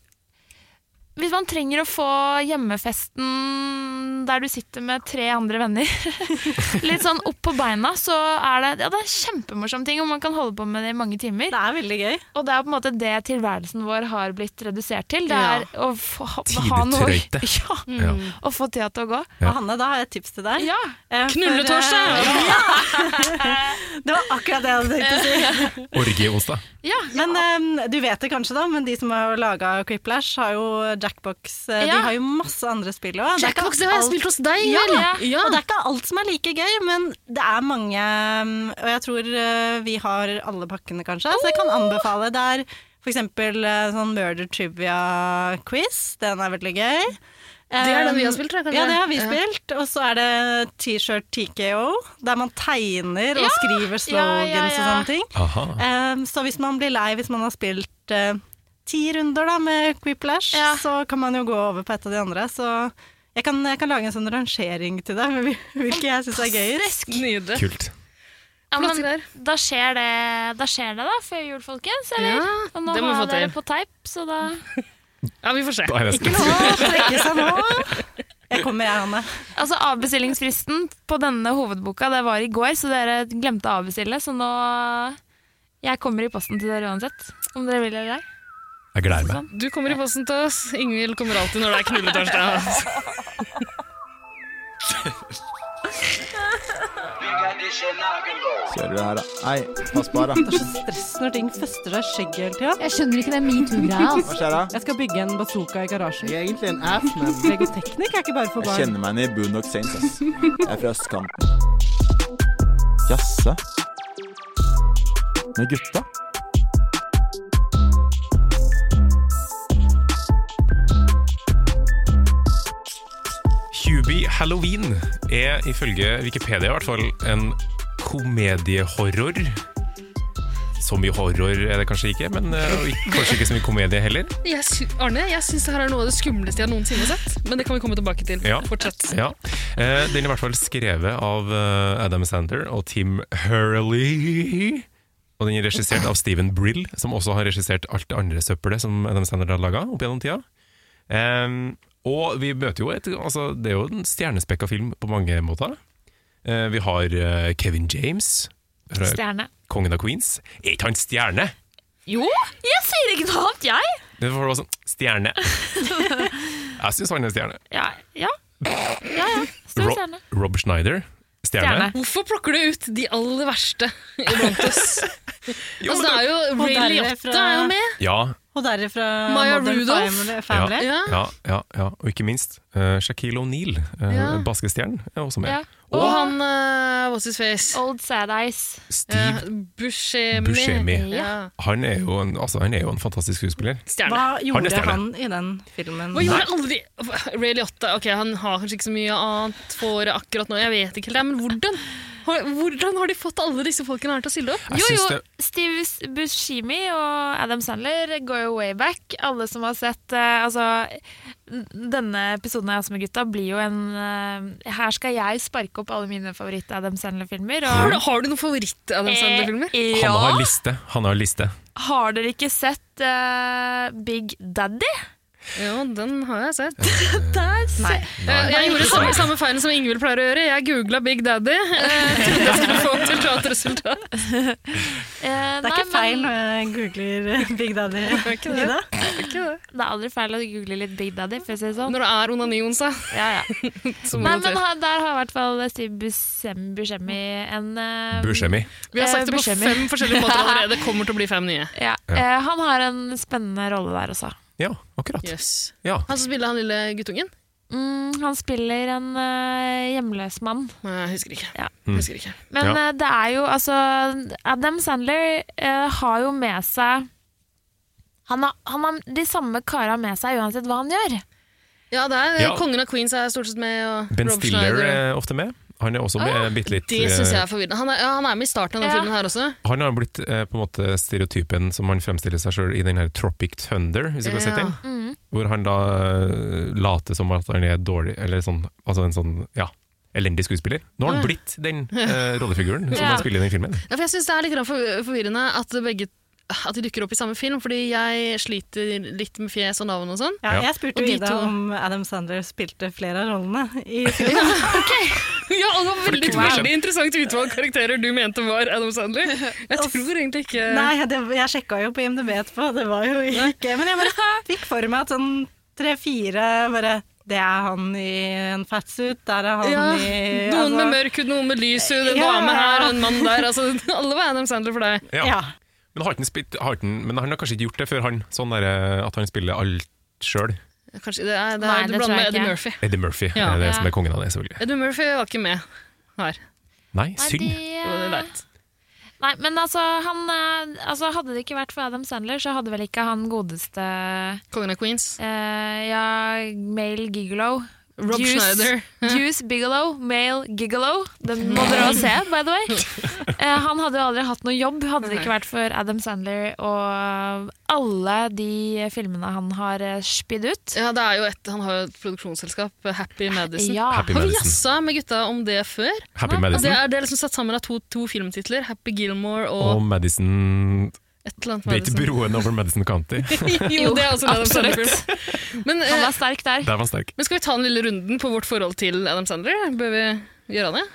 Hvis man trenger å få hjemmefesten der du sitter med tre andre venner, litt sånn opp på beina, så er det Ja, det er kjempemorsom ting, og man kan holde på med det i mange timer. Det er veldig gøy. Og det er på en måte det tilværelsen vår har blitt redusert til. Det er å få, ha, ha noe Tidetrøyte. Ja, ja. Mm. og få tida til å gå. Ja. Og Hanne, da har jeg et tips til deg. Mm. Ja, Eh, for, Knulletorsdag! eh, Det var akkurat det jeg hadde tenkt å si. Orgieonsdag. ja, Men eh, du vet det kanskje, da, men de som har laga Quiplash, har jo Jackbox. eh, Ja. De har jo masse andre spill òg. Jackbox, det har jeg spilt hos deg, Ja, vel? Og det er ikke alt som er like gøy, men det er mange um, Og jeg tror uh, vi har alle pakkene, kanskje, så jeg Oh. kan anbefale. Det er for eksempel uh, sånn murder trivia-quiz. Den er veldig gøy. Det er den Um, vi har spilt, tror jeg, kanskje? Ja, det har vi Ja. spilt. Og så er det T-shirt TKO, der man tegner og skriver slogans ja, ja. og sånne ting. Aha. Um, så hvis man blir lei hvis man har spilt uh, ti runder da, med Quiplash, Ja. så kan man jo gå over på et av de andre. Så jeg kan, jeg kan lage en sånn rangering til deg, med hvil- hvilke jeg syns er gøyest. Nydelig. Kult. ja Flotte men greier. da skjer, det, da skjer det, da, før jul, folkens. Eller? Ja, og nå det må vi har få jeg dere til. på teip, så da Ja, vi får se. Da er det Ikke lov å strekke seg nå! Jeg kommer med jeg, Hanne. Altså Avbestillingsfristen på denne hovedboka det var i går, så dere glemte å avbestille. Så nå Jeg kommer i posten til dere uansett, om dere vil eller ei. Jeg gleder meg. Du kommer i posten til oss. Ingvild kommer alltid når det er knulletorsdag. Kjører du her, da? Nei, pass på her, Det da. er så stress når ting fester seg i skjegget hele tida. Jeg skjønner ikke den metoo-greia. Hva Altså. skjer da? Jeg skal bygge en bazooka i garasjen. Jeg er egentlig en ass, men Legoteknikk er ikke bare for Jeg barn. kjenner meg igjen i Boondock Saints, ass. Jeg er fra østkanten. Jaså? Med gutta? Hubie Halloween er ifølge Wikipedia i hvert fall en komediehorror. Så mye horror er det kanskje ikke, men eh, og ikke- kanskje ikke så mye komedie heller. Jeg sy Arne, jeg syns det her er noe av det skumleste jeg noensinne har sett. Men det kan vi komme tilbake til. Ja. Fortsett. Ja. Eh, Den er i hvert fall skrevet av eh, Adam Sander og Tim Hurley. Og den er regissert av Steven Brill, som også har regissert alt det andre søppelet som Adam Sander har laga opp gjennom tida. Ehm, og vi møter jo et altså, Det er jo en stjernespekka film på mange måter. Eh, vi har eh, Kevin James, fra Stjerne. kongen av Queens. Er ikke han stjerne? Jo, jeg sier ikke noe annet, jeg! Det får være sånn Stjerne. Jeg syns han er stjerne. Ja, ja. ja, ja. Stor Ro- stjerne. Rob Schneider, stjerne. Stjerne. Hvorfor plukker du ut de aller verste iblant oss? Jo, altså, det er jo og Ray dermed Liotta fra- er jo med. Ja, Og derifra Maya Modern Rudolph. Family. family. Ja. Ja, ja, ja. Og ikke minst eh, Shaquille O'Neal, uh, Ja. basketstjernen, er også med. Ja. Og Og han eh, What's his face? Old Sad Eyes. Eh, Steve Buscemi. Buscemi. Ja. Han er, jo en, altså, han er jo en fantastisk skuespiller. Stjerne. Hva Han er gjorde stjerne. han i den filmen? Hva gjorde aldri Ray Liotta ok, han har kanskje ikke så mye annet for akkurat nå, jeg vet ikke helt, det, men hvordan, har- hvordan har de fått alle disse folkene her til å stille opp? Jeg Jo, syns jo, det- Steve Buscemi og Adam Sandler går jo way back. Alle som har sett eh, Altså, n- denne episoden av Jazz med gutta blir jo en eh, Her skal jeg sparke opp alle mine favoritt-Adam Sandler-filmer. og- Har du, har du noen favoritt-Adam Sandler-filmer? Eh, Han har Ja. liste. Han har liste. Har dere ikke sett eh, Big Daddy? Jo, den har jeg sett. Der se. Eh, Jeg gjorde samme, samme feilen som Ingvild pleier å gjøre, jeg googla Big Daddy. eh, trodde Jeg skulle få til klart resultat. Eh, Det er nei, ikke feil men når jeg googler Big Daddy. Ida. Det er aldri feil å google litt Big Daddy, for å si det sånn. Når det er onani-onsdag, Ja, ja. så må Nei, det men til. ha- der har i hvert fall Steve Buscemi, Buscemi en eh, Buscemi. Vi har sagt det på Buscemi. fem forskjellige måter allerede, det kommer til å bli fem nye. Ja. Eh, han har en spennende rolle der også. Ja, akkurat. Yes. Ja. Han som spiller han lille guttungen? Mm, han spiller en eh, hjemløs mann. Nei, jeg husker ikke. Ja. Mm. Jeg husker ikke. Men Ja. eh, det er jo altså Adam Sandler eh, har jo med seg han har, han har de samme kara med seg uansett hva han gjør. Ja, det er eh, Ja. Kongen av Queens er stort sett med. Og Ben Rob Stiller Schneider. Ah, er ofte med. Han er også med, eh, bitte litt Det syns jeg eh, er forvirrende. Han er, ja, han er med i starten av denne Ja. filmen her også. Han har blitt eh, på en måte stereotypen som han fremstiller seg sjøl i den her Tropic Thunder, hvis dere har sett Ja. den? Hvor han da eh, later som at han er dårlig, eller sånn, altså en sånn, ja, elendig skuespiller. Nå har han blitt den eh, rollefiguren som Ja. han spiller i den filmen. Ja, for jeg syns det er litt grann for- forvirrende at, begge, at de dukker opp i samme film, fordi jeg sliter litt med fjes og navn og sånn. Ja, Ja. jeg spurte Og jo de Ida to. om Adam Sandler spilte flere av rollene i filmen. Ja, og det var veldig, kunne skjønt. veldig interessant utvalg karakterer du mente var Adam Sandler. Jeg tror egentlig ikke Nei, det, jeg sjekka jo på IMDb etterpå, det var jo ikke Men jeg bare fikk for meg at sånn tre-fire bare Det er han i en fatsuit, der er han ja, i Noen med altså- mørk hud, noen med lys hud, en Ja. dame her og en mann der. Altså, alle var Adam Sandler for deg. Ja. altså, Ja. Men, har ikke han spilt, har ikke han, men han har kanskje ikke gjort det før han, sånn der, eh, at han spiller alt sjøl. Kanskje, det er, det er, Nei, du det tror blander med jeg Eddie ikke. Murphy. Eddie Murphy Ja. er det Ja. som er kongen av det, selvfølgelig. Eddie Murphy var ikke med her. Nei, Nei, synd. de, Det var eh, leit. nei, men altså, han, eh, altså Hadde det ikke vært for Adam Sandler, så hadde vel ikke han godeste Kongen av Queens. eh, Ja, Male Gigolo. Rob Juice. Schneider. Juice Bigelow, male Gigolo. Den må dere også se, by the way. Eh, han hadde jo aldri hatt noe jobb, hadde det ikke vært for Adam Sandler og alle de filmene han har eh, spydd ut. Ja, det er jo et, Han har jo et produksjonsselskap, Happy Madison. Ja. Happy Har vi Madison. jassa med gutta om det før? Happy Altså, det, Madison. er, det er liksom satt sammen av to, to filmtitler, Happy Gilmore og Og Madison Et eller annet Det er ikke Madison. broen over Madison County. Jo, det er altså Madison absolutt. Sandler. Men, Han eh, var sterk der. Der var sterk. men skal vi ta den lille runden på vårt forhold til Adam Sandler? Bør vi gjøre det?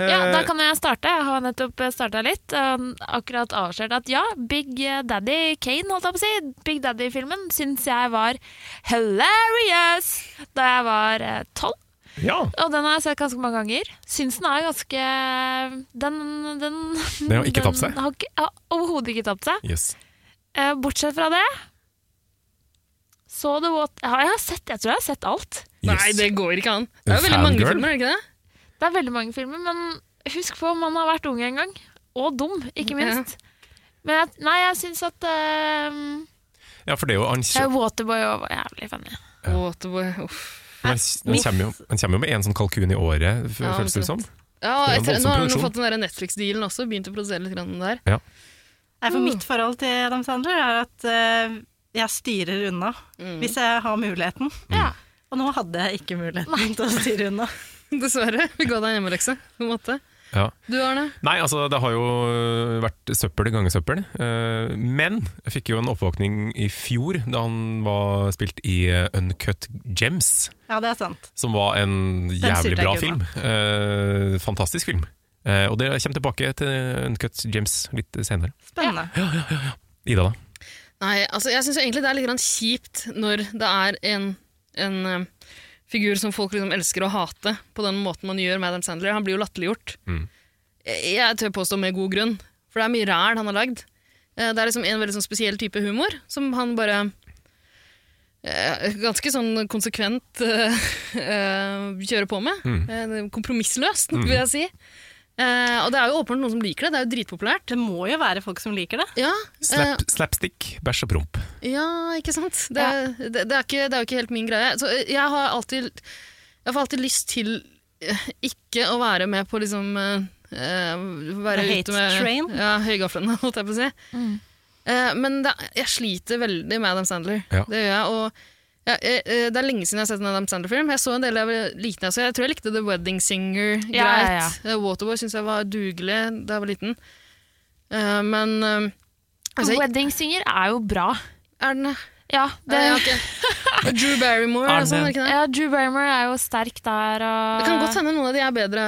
Ja, Da kan jeg starte. Jeg har nettopp starta litt. Um, akkurat avslørt at ja, Big eh, Daddy Kane, holdt jeg på å si, Big Daddy-filmen syns jeg var hilarious da jeg var eh, tolv. Ja, Og den har jeg sett ganske mange ganger. Syns den er ganske Den Den, Den har ikke tapt seg. Den har, ikke- har overhodet ikke tapt seg. yes. Eh, bortsett fra det så det What ja, jeg, har sett, jeg tror jeg har sett alt. yes. Nei, det går ikke an. Det er jo veldig mange Fangirl. filmer, er det ikke det? Det er veldig mange filmer, men husk på man har vært ung en gang. Og dum, ikke minst. Men jeg, nei, jeg syns at eh, Ja, for det er jo han, kjø- Waterboy også var jævlig funny. Waterboy, uff. han, han, kommer jo, han kommer jo med en sånn kalkun i året, f- Ja, føles det som. Ja, Det er en etter, voldsom nå har han jo produksjon. fått den der Netflix-dealen også, begynt å produsere litt grann der. Nei, Mm. for mitt forhold til Adam Sandler er at eh, jeg styrer unna Mm. hvis jeg har muligheten. Ja. Og nå hadde jeg ikke muligheten til å styre unna. Dessverre. Vi ga deg en hjemmelekse, på en måte. Ja. Du, Arne? Nei, altså det har jo vært søppel ganger søppel. eh, Men jeg fikk jo en oppvåkning i fjor da han var spilt i eh, Uncut Gems, Ja, det er sant. som var en jævlig styrte jeg bra ikke film. Eh, Fantastisk film. Eh, Og det jeg kommer tilbake til Uncut Gems litt senere. Spennende. Ida, da? Nei, altså jeg syns egentlig det er litt grann kjipt når det er en, en eh, figur som folk liksom elsker å hate, på den måten man gjør med Adam Sandler. Han blir jo latterliggjort. Mm. Jeg, jeg tør påstå med god grunn, for det er mye ræl han har lagd. Eh, Det er liksom en veldig sånn spesiell type humor som han bare eh, Ganske sånn konsekvent eh, eh, kjører på med. Eh, Kompromissløst, vil jeg si. Eh, og det er jo åpenbart noen som liker det. Det er jo dritpopulært. Det må jo være folk som liker det. Ja, eh, Slap, slapstick, bæsj og promp. ja, ikke sant? Det, det, det, er ikke, det er jo ikke helt min greie. Så eh, jeg har alltid, jeg får alltid lyst til eh, ikke å være med på liksom eh, eh, være The hate ute med train? Ja, høygaflene, holdt jeg på å si. Eh, men det, jeg sliter veldig med Adam Sandler. Ja. Det gjør jeg. Og ja, eh, eh, det er lenge siden jeg har sett en Adam Sandler-film. Jeg så en del av liten, altså. Jeg tror jeg likte The Wedding Singer greit. Ja, ja, Eh, Waterboy syns jeg var dugelig da jeg var liten. Eh, men eh, altså, Wedding Singer er jo bra. er den Ja, det, Nei, jeg har ikke. Drew Barrymore Er og sånn, er det- ikke det? Eh, ja, Drew Barmer er jo sterk der. Og, Det kan godt hende noen av de er bedre.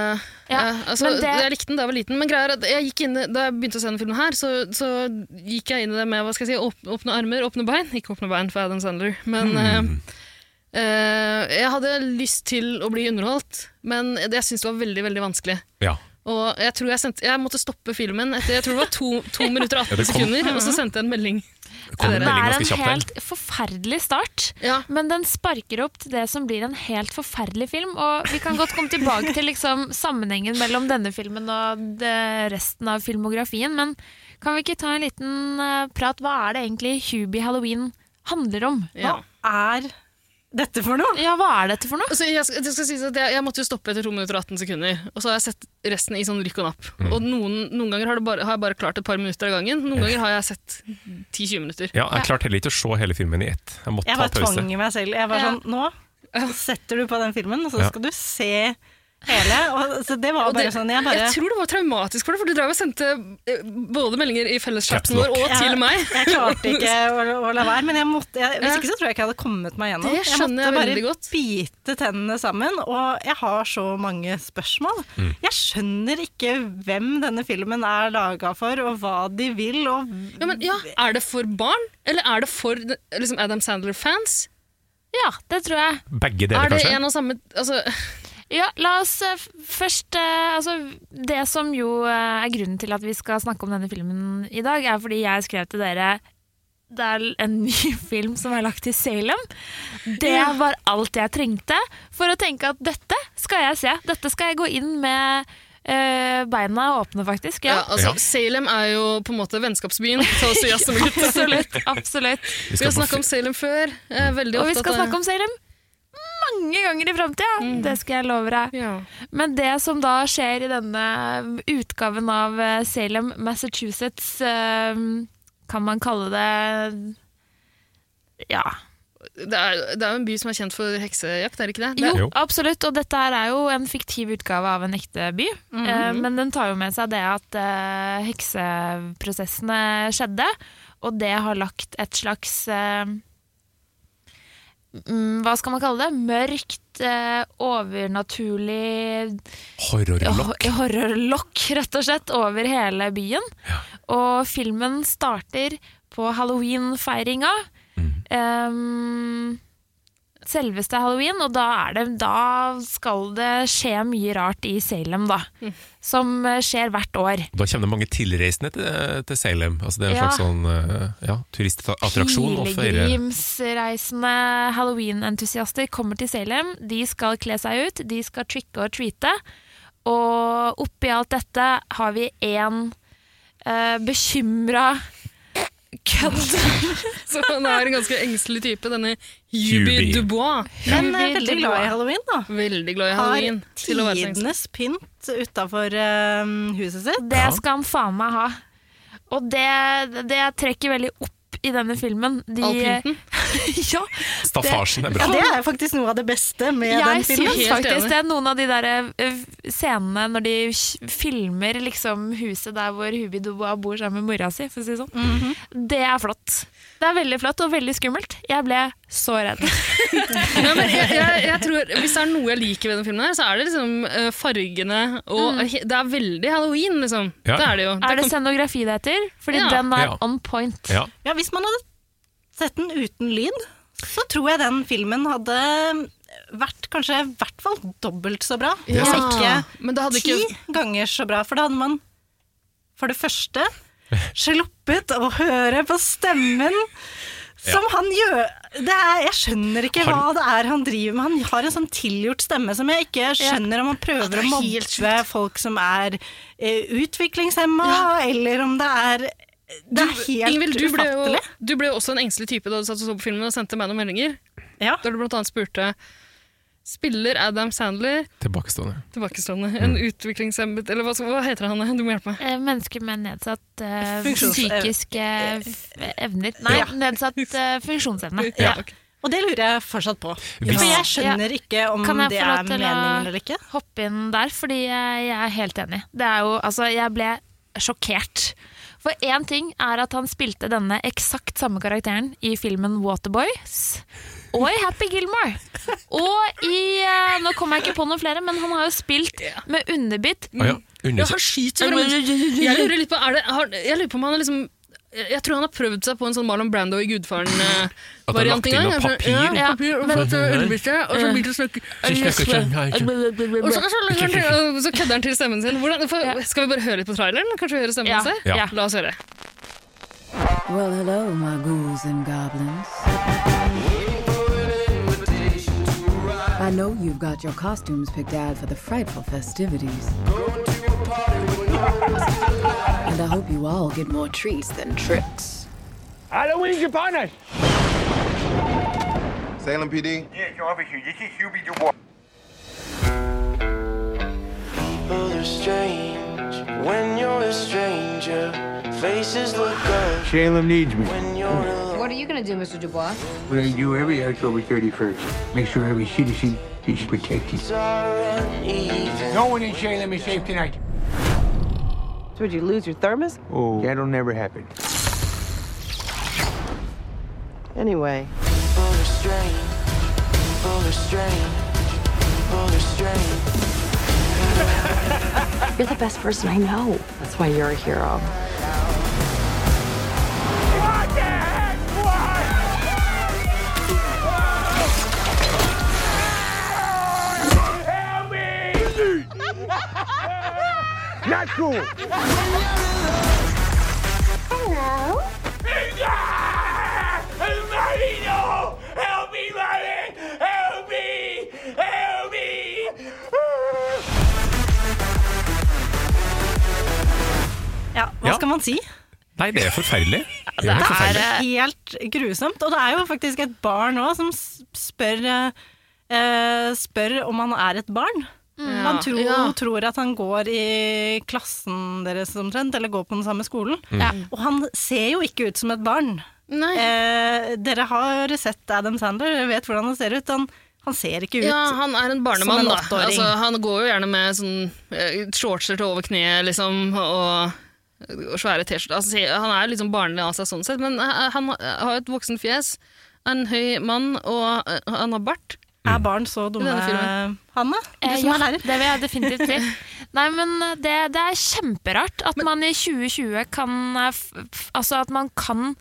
Ja, Eh, altså, men det- Jeg likte den da jeg var liten, men greier er at jeg gikk inn, i- da jeg begynte å se den filmen her, så, så gikk jeg inn i det med hva skal jeg si, åpne, åpne armer, åpne bein. Ikke åpne bein for Adam Sandler, men Hmm. eh, eh, Jeg hadde lyst til å bli underholdt, men det- jeg syntes det var veldig veldig vanskelig. Ja. Og jeg tror jeg, sendte, jeg måtte stoppe filmen etter jeg tror det var to, to minutter og 18 Ja, det kom- sekunder, og så sendte jeg en melding. Det kom en Det det melding er ganske en kjapt der. helt forferdelig start. Ja, Men den sparker opp til det som blir en helt forferdelig film. Og vi kan godt komme tilbake til liksom sammenhengen mellom denne filmen og det resten av filmografien, men kan vi ikke ta en liten eh, prat? Hva er det egentlig Hubie Halloween handler om? ja. Er dette for noe? Ja, hva er dette for noe? Altså, jeg, skal, det skal sies at jeg, jeg måtte jo stoppe etter 2 minutter og 18 sekunder, og så har jeg sett resten i sånn rykk og napp. Mm. Og noen, noen ganger har, det bare, har jeg bare klart et par minutter av gangen, noen ganger har jeg sett 10-20 minutter. Ja, jeg klarte heller ikke å se hele filmen i ett. Jeg måtte Jeg ta bare pause. tvang meg selv. Jeg var Ja. sånn Nå setter du på den filmen, og så Ja. skal du se hele. Og, så det var Og bare det- sånn Jeg bare jeg tror det var traumatisk for deg, for du drev og sendte eh, både meldinger i Caps felleschatten lock. vår og Ja. til meg. Jeg klarte ikke å, å la være, men jeg måtte, jeg, hvis Ja. ikke så tror jeg ikke jeg hadde kommet meg gjennom. Det skjønner jeg måtte veldig bare godt. bite tennene sammen, og jeg har så mange spørsmål. Mm. Jeg skjønner ikke hvem denne filmen er laga for, og hva de vil, og Ja, men ja, Er det for barn, eller er det for liksom, Adam Sandler-fans? Ja, det tror jeg. Begge Er deler, det kanskje? en og samme altså, Ja, la oss eh, f- først eh, Altså, det som jo eh, er grunnen til at vi skal snakke om denne filmen i dag, er fordi jeg skrev til dere det er en ny film som er lagt i Salem. Det var alt jeg trengte for å tenke at dette skal jeg se. Dette skal jeg gå inn med eh, beina åpne, faktisk. ja. Ja. altså, Ja. Salem er jo på en måte vennskapsbyen til oss jazzmusikere. Absolutt. absolutt. Vi har snakka om Salem før. eh, Veldig Og ofte vi skal at det- Mm. snakke om Salem mange ganger i framtida. Det skal jeg love deg. ja. Men det som da skjer i denne utgaven av eh, Salem, Massachusetts eh, Kan man kalle det Ja. Det er, det er jo en by som er kjent for heksejakt, er det ikke det? det Jo, er, Jo. absolutt. Og dette her er jo en fiktiv utgave av en ekte by. Eh, Men den tar jo med seg det at eh, hekseprosessene skjedde, og det har lagt et slags eh, mm, Hva skal man kalle det? Mørkt, eh, overnaturlig Horrorlokk. horrorlokk. horrorlokk, rett og slett, over hele byen. Og filmen starter på halloween-feiringa. Ehm, selveste halloween, og da, er det, da skal det skje mye rart i Salem, da. Som eh, skjer hvert år. Da kommer det mange tilreisende til, til Salem. Altså det er en Ja. slags sånn eh, ja, turistattraksjon. å feire. Pilegrimsreisende halloween-entusiaster kommer til Salem. De skal kle seg ut, de skal tricke og treate. Og oppi alt dette har vi én uh, bekymra kødd. så han er en ganske engstelig type, denne Hubie Hubie. Dubois. Men eh, veldig glad i halloween, da. Veldig glad i Har halloween. Til å være så engstelig. tidenes pynt utafor huset sitt. Det skal han faen meg ha. Og det, det trekker veldig opp i denne filmen. De, All pynten. ja, Staffasjen er bra. Ja, det er jo faktisk noe av det beste med jeg den filmen. syns Helt faktisk enig. det. Noen av de der eh, scenene når de kj- filmer liksom huset der hvor Hubi Dubois bor sammen med mora si, for å si det sånn. Mhm. Det er flott. Det er veldig flott og veldig skummelt. Jeg ble så redd. Ja, men jeg, jeg, jeg tror, hvis det er noe jeg liker ved den filmen, her, så er det liksom eh, fargene og Mm. he- Det er veldig halloween, liksom. Ja. Det er det jo. Er det kom- scenografi det heter? Fordi Ja. den er Ja. on point. Ja. Ja, hvis man hadde sett den uten lyd, så tror jeg den filmen hadde vært kanskje i hvert fall dobbelt så bra. er Om sant. ikke men det hadde ti ikke ganger så bra, for da hadde man for det første sluppet å høre på stemmen som han gjør det er, Jeg skjønner ikke Han- hva det er han driver med. Han har en sånn tilgjort stemme som jeg ikke skjønner om han prøver å mobbe folk som er eh, utviklingshemma, eller om det er Det er helt Ingvild, du ble, jo, ufattelig. du ble jo også en engstelig type da du satt og så på filmen og sendte meg noen meldinger. Ja. Da du blant annet spurte Spiller Adam Sandler Tilbakestående. tilbakestående en utviklingshemmet Eller hva, skal- hva heter han? Du må hjelpe meg. Eh, Mennesker med nedsatt eh, Funksjonsevne. psykiske eh, f- evner Nei, nedsatt eh, funksjonsevne. Ja. ok. Og det lurer jeg fortsatt på. Hvis- For jeg skjønner ikke om Kan jeg det få lov er til å- meningen eller ikke. hoppe inn der, fordi jeg jeg er helt enig. Det er jo, altså, jeg ble sjokkert. For én ting er at han spilte denne eksakt samme karakteren i filmen Waterboys. Og i Happy Gilmore. Og i eh, Nå kommer jeg ikke på noen flere, men han har jo spilt med underbitt. Ah, ja. Ja, Undersøk. han skyter så veldig Jeg lurer litt på, er det, har, jeg lurer på om han har liksom jeg tror han har prøvd seg på en sånn Marlon Brando i eh, At han har Gudfaren-variant lagt inn noe papir? Ja, ja, papir og Men- fått underbytte, og så begynte han å snakke Og så, så, så, så kødder han til stemmen sin. Hvordan, for, Skal vi bare høre litt på traileren? Kanskje vi hører stemmen Ja, altså? hans? ja. La oss høre. Well, hello, my ghouls and goblins. I know you've got your costumes picked out for the frightful festivities. And I hope you all get more treats than tricks. Salem PD? Yeah, come over here. You can hear me do what? Salem needs me. What are you going to do, Mr. Dubois? We're gonna do every October 31st. Make sure every citizen is protected. No one in Salem is safe tonight. Would you lose your thermos? Oh, that'll never happen. Anyway. You're the best person I know. That's why you're a hero. Not cool. Help me, Marty! Help me! Help me! Ja, hva Ja. skal man si? Nei, det er forferdelig. Det er Er, forferdelig. eh, Helt grusomt. Og det er jo faktisk et barn nå som s- spør, eh, eh, spør om han er et barn. Han Mm. tror, Ja. tror at han går i klassen deres omtrent, eller går på den samme skolen. Ja. Og han ser jo ikke ut som et barn. Mm. Eh, dere har sett Adam Sandler, dere vet hvordan han ser ut. Han, han ser ikke ut Ja, han er en barnemann, som en da. åtteåring. Altså, han går jo gjerne med sånn eh, shortser til over kneet, liksom, og, og svære T-skjorter. Altså, se- han er jo liksom barnlig av seg sånn sett, men eh, han har jo et voksen fjes, er en høy mann, og eh, han har bart. Er barn så dumme, I denne filmen. Hanna? Du Eh, som er ja, det lærer. vil jeg definitivt si. Nei, men eh, det, det er kjemperart at man i 2020 kan eh, f, f, Altså at man kan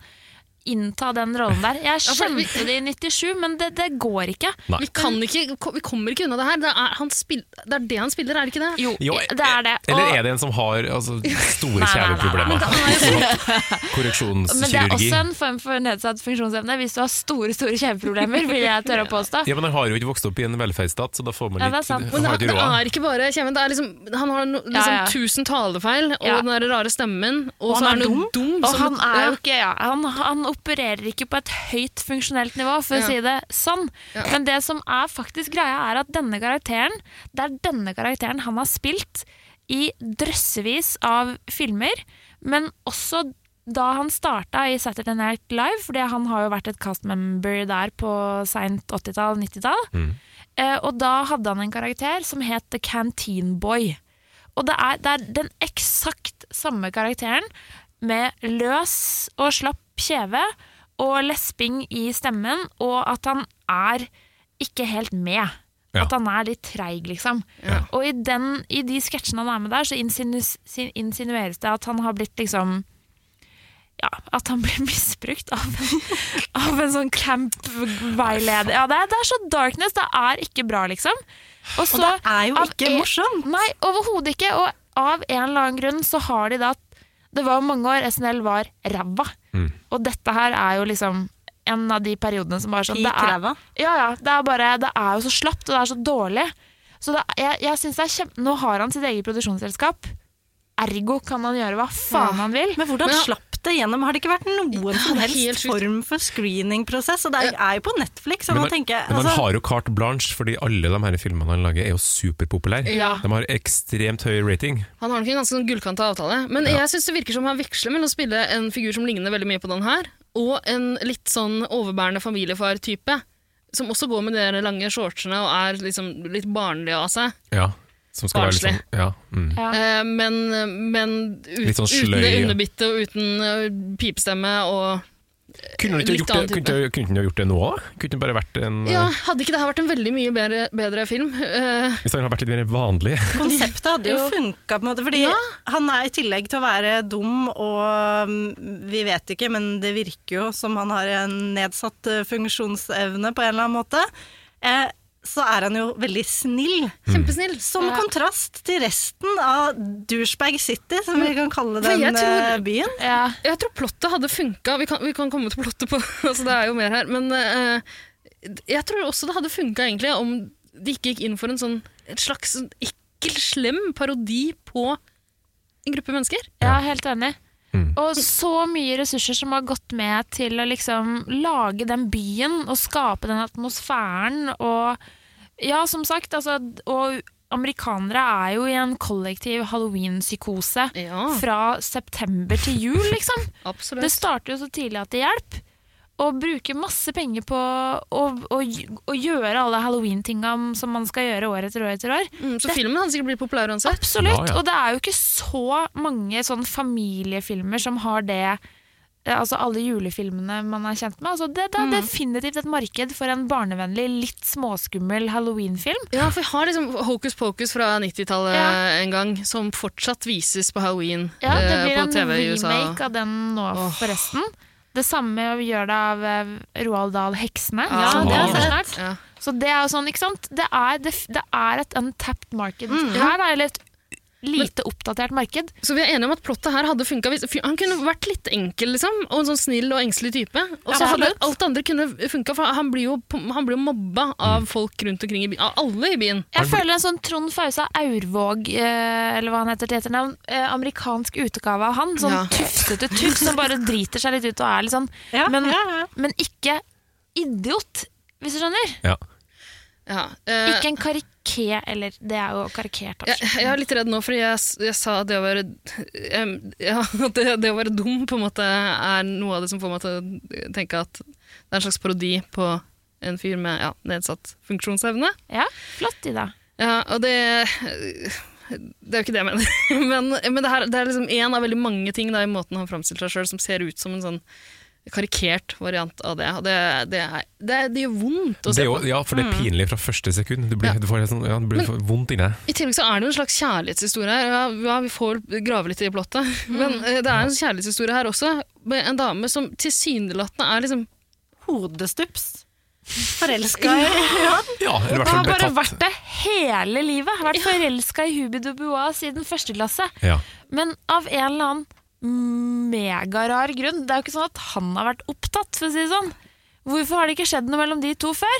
innta den rollen der. Jeg Ja, for vi- skjønte det i 97, men det, det går ikke. Nei. Vi, kan ikke, ko- vi kommer ikke unna det her. Det er, han spill, det er det han spiller, er det ikke det? Jo, eh, Jo, det er det. Eller er det en som har altså, store kjeveproblemer? Men det er Korreksjonskirurgi. også en form for nedsatt funksjonsevne hvis du har store store kjeveproblemer, vil jeg tørre å påstå. Ja, men Han har jo ikke vokst opp i en velferdsstat, så da får man Ja, litt, det er sant. Men han det, det har ikke råd. er ikke bare kjeven. Det er liksom, han har no, liksom Ja, ja. tusen talefeil, og Ja. den der rare stemmen, og, Og så er han han er jo dum. Og som- han er jo ja. ikke ja, han, han opererer ikke på et høyt funksjonelt nivå, for Ja. å si det sånn. Ja. Men det som er faktisk greia, er at denne karakteren, det er denne karakteren han har spilt i drøssevis av filmer, men også da han starta i Saturday Night Live, fordi han har jo vært et castmember der på seint 80-tall, 90-tall. Eh, og da hadde han en karakter som het The Canteen Boy. Og det er, det er den eksakt samme karakteren, med løs og slapp kjeve og lesping i stemmen, og at han er ikke helt med. Ja. At han er litt treig, liksom. Ja. Og i, den, i de sketsjene han er med der, så insinus, sin- insinueres det at han har blitt liksom ja, at han blir misbrukt av, av en sånn camp-veileder. Ja, det er, det er så darkness. Det er ikke bra, liksom. Og, så, det er jo av ikke en- morsomt. Nei, overhodet ikke. Og av en eller annen grunn så har de da Det var jo mange år SNL var ræva. Og dette her er jo liksom en av de periodene som bare sånn det Peak er, ræva. ja, ja, det er bare Det er jo så slapt, og det er så dårlig. Så det, jeg, jeg synes det er kjempe... Nå har han sitt eget produksjonsselskap. Ergo kan han gjøre hva faen han vil. Men hvordan Men han- slapp det gjennom? Har det ikke vært noen som det er helt helst sjukt. form for screeningprosess? Og det er, er jo på Netflix, så Men man man, tenker men man altså, har jo carte blanche, fordi alle de her filmene han lager, er jo superpopulære. Ja. De har ekstremt høy rating. Han har nok en ganske sånn gullkanta avtale. Men jeg syns det virker som han veksler mellom å spille en figur som ligner veldig mye på den her, og en litt sånn overbærende familiefar-type. Som også går med de der lange shortsene og er liksom litt barnlig av seg. Ja. Som skal være litt Barnslig. sånn ja, mm. Ja. Eh, men men ut, Litt sånn uten det sløy, ja. underbittet og uten eh, pipestemme og Kunne du ikke Litt gjort det, annen type. kunne, du- kunne du gjort det nå òg? Kunne det bare vært en eh, Ja, hadde ikke det her vært en veldig mye bedre, bedre film? Eh, Hvis han hadde vært litt mer vanlig? Konseptet hadde jo funka, på en måte. Fordi Ja. han er i tillegg til å være dum og mm, Vi vet ikke, men det virker jo som han har en nedsatt eh, funksjonsevne på en eller annen måte. Eh, så er han jo veldig snill. Hmm. kjempesnill. Som kontrast til resten av Douchebag City, som vi kan kalle For den jeg tror- eh, byen. Ja. Jeg tror plottet hadde funka. Vi kan, vi kan komme til plottet, på, altså det er jo mer her. Men eh, jeg tror også det hadde funka egentlig om de ikke gikk inn for en sånn, et slags sånn ekkel, slem parodi på en gruppe mennesker. Ja, helt enig. Og så mye ressurser som har gått med til å liksom lage den byen og skape den atmosfæren og Ja, som sagt, altså Og amerikanere er jo i en kollektiv halloween-psykose Ja. fra september til jul, liksom. Det Absolutt. starter jo så tidlig at det hjelper. Og bruke masse penger på å, å, å gjøre alle halloween-tinga som man skal gjøre år etter år etter år. Mm, så filmen hadde sikkert blitt populær uansett. Absolutt, Ja, ja. og det er jo ikke så mange sånn familiefilmer som har det eh, Altså alle julefilmene man er kjent med. Altså det, det er definitivt et marked for en barnevennlig, litt småskummel halloweenfilm. Ja, for jeg har liksom Hokus Pokus fra 90-tallet Ja. en gang, som fortsatt vises på halloween Ja, det eh, blir på en TV i USA. remake av den nå, forresten. Det samme gjør det av eh, Roald Dahl 'Heksene'. Ja, som det har kommer jeg snart. Ja. Så det er jo sånn, ikke sant? Det er, det, det er et untapped marked. Her er det et lite oppdatert marked. Så vi er enige om at plottet her hadde funka. hvis- fy- Han kunne vært litt enkel, liksom. Og en sånn snill og engstelig type. Og så hadde Absolutt. alt det andre kunne funka, for han blir, jo, han blir jo mobba av folk rundt omkring i byen. Av alle i byen. Jeg føler en sånn Trond Fausa Aurvåg, eh, eller hva han heter til etternavn, eh, amerikansk utgave av han. Sånn Ja. tufsete tuff som bare driter seg litt ut og er litt sånn. Ja, men, ja, ja. men ikke idiot, hvis du skjønner. Ja. Ja, eh, Ikke en kariké, eller det er jo karikert. jeg, altså. jeg er litt redd nå, fordi jeg, s- jeg sa at det å være em, ja, at det, det å være dum på en måte er noe av det som får meg til å tenke at det er en slags parodi på en fyr med ja, nedsatt funksjonsevne. Ja, flott, Ida. Ja, og det Det er jo ikke det jeg mener. Men, men det, her, det er liksom én av veldig mange ting da, i måten han framstiller seg sjøl som ser ut som en sånn karikert variant av det. Og det, det, er, det, det gjør vondt å Det se er jo, på. ja, for det er pinlig fra første sekund. Du, blir, Mm. Ja. du får helt sånn, ja, det blir Men- for vondt inni deg. I tillegg så er det jo en slags kjærlighetshistorie her. Ja, ja, vi får grave litt i plottet. Men eh, det er en kjærlighetshistorie her også, med en dame som tilsynelatende er liksom Hodestups. Forelska i ja. Ja, eller i Det hvert fall har ble bare tatt. vært det hele livet. Har vært forelska i Hubi Dubois siden første klasse. Ja. Men av en eller annen megarar grunn. Det er jo ikke sånn at han har vært opptatt, for å si det sånn. Hvorfor har det ikke skjedd noe mellom de to før?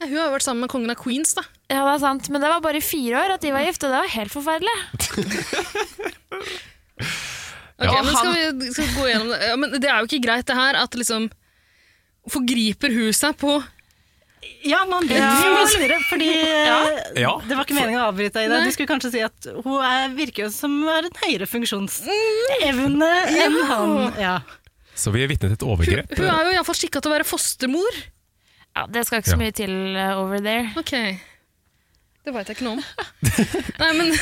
ja, Hun har jo vært sammen med kongen av Queens, da. Ja, det er sant, men det var bare i fire år at de var gift, og det var helt forferdelig. Ok, Ja. men skal vi, skal vi gå gjennom det? Ja, men det er jo ikke greit, det her, at liksom Forgriper hun seg på Ja, man blir Ja. jo sure, fordi eh, Ja. Det var ikke meningen å avbryte deg, Ida. Nei. Du skulle kanskje si at hun er, virker jo som har en høyere funksjonsevne enn Mm. Ja. han. Ja. Så vi er vitne til et overgrep. Hun er jo iallfall skikka til å være fostermor. Ja, Det skal ikke så Ja. mye til eh, over there. Ok. Det veit jeg ikke noe om. Nei, men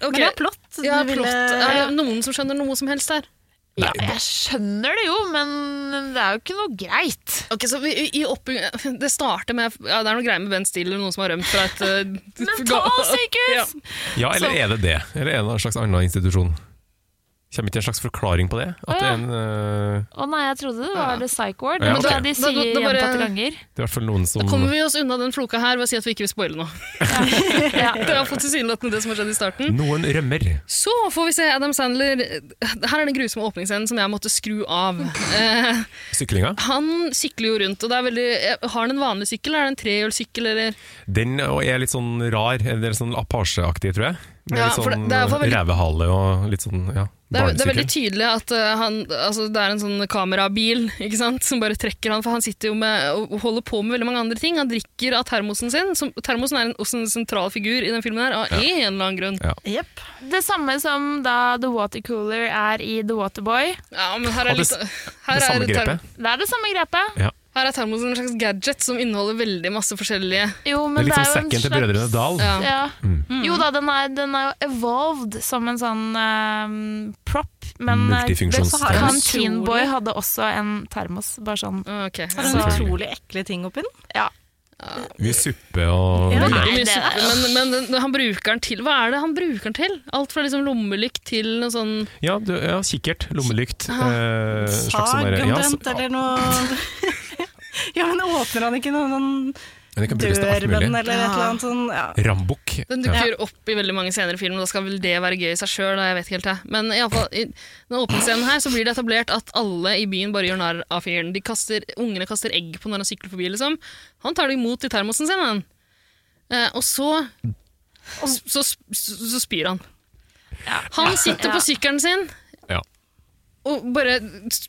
ok. Men det er plott. Du Ja, ville- plott. Er det noen som skjønner noe som helst der? Ja, jeg skjønner det jo, men det er jo ikke noe greit. Ok, så vi, i oppbygging- Det starter med ja, Det er noe greier med Ben Stiller og noen som har rømt fra et eh, Mentalsykehus! Ja. Ja, eller Så- er det det? Eller er det en slags annen institusjon? Kommer ikke en slags forklaring på det? At det er en... øh, Å nei, jeg trodde det Ja. var the psych ward. Ja, men da ok. de Da- da- sier da bare- gjentatte ganger. Det er i hvert fall noen Da som kommer vi oss unna den floka her ved å si at vi ikke vil spoile noe. Det er iallfall tilsynelatende det som har skjedd i starten. Noen rømmer. Så får vi se Adam Sandler Her er den grusomme åpningsscenen som jeg måtte skru av. Eh, Syklinga. han sykler jo rundt, og det er veldig eh, Har han en vanlig sykkel? Er det en trehjulssykkel, eller? Den og er litt sånn rar, eller sånn Apache-aktig, tror jeg. Med Ja, litt for det- sånn det er i hvert fall veldig- revehale og litt sånn ja, Det er, det er veldig barnesykkel. tydelig at eh, han, altså, det er en sånn kamerabil ikke sant? som bare trekker han, for han sitter jo med, og holder på med veldig mange andre ting. Han drikker av termosen sin. Som, termosen er en, også en sentral figur i den filmen her, av en eller annen grunn. Ja. Jepp. Det samme som da The Watercooler er i The Waterboy. Ja, men her Og er, det litt, s- her, det er samme term- grepet. Det er det samme grepet. Ja. her er termosen en slags gadget som inneholder veldig masse forskjellige Jo, Det men er det litt er, sånn jo en sekken til slags- Brødrene Dal. Ja. Mm. Ja. Jo da, den er, den er jo evolved som en sånn eh, prop, men eh, Multifunksjonstermos. det- Han Utrolig. Teen Boy hadde også en termos, bare sånn. Ah, Ok. Har hun Selvfølgelig. utrolig ekle ting oppi den? Ja. Mye suppe og Ja. Veldig Nei, mye det- suppe, Men, men den- han bruker den til Hva er det han bruker den til? Alt fra liksom lommelykt til noe sånn Ja, du, ja kikkert, lommelykt. eh, slags Sag sånn der- ja, omtrent, så- eller noe Ja, men åpner han ikke noen, Ja, det kan noen brukes til alt dør med mulig. den, eller et eller annet sånn? Ja. Rambukk. Den Ja. dukker opp i veldig mange senere filmer, og da skal vel det være gøy i seg sjøl. Jeg vet ikke helt det. Men i alle fall, i den åpningsscenen her så blir det etablert at alle i byen bare gjør narr av fyren. De kaster, ungene kaster egg på når han sykler forbi, liksom. Han tar det imot i termosen sin, han. Eh, og så så, så, så spyr han. Han sitter på sykkelen sin Ja. og bare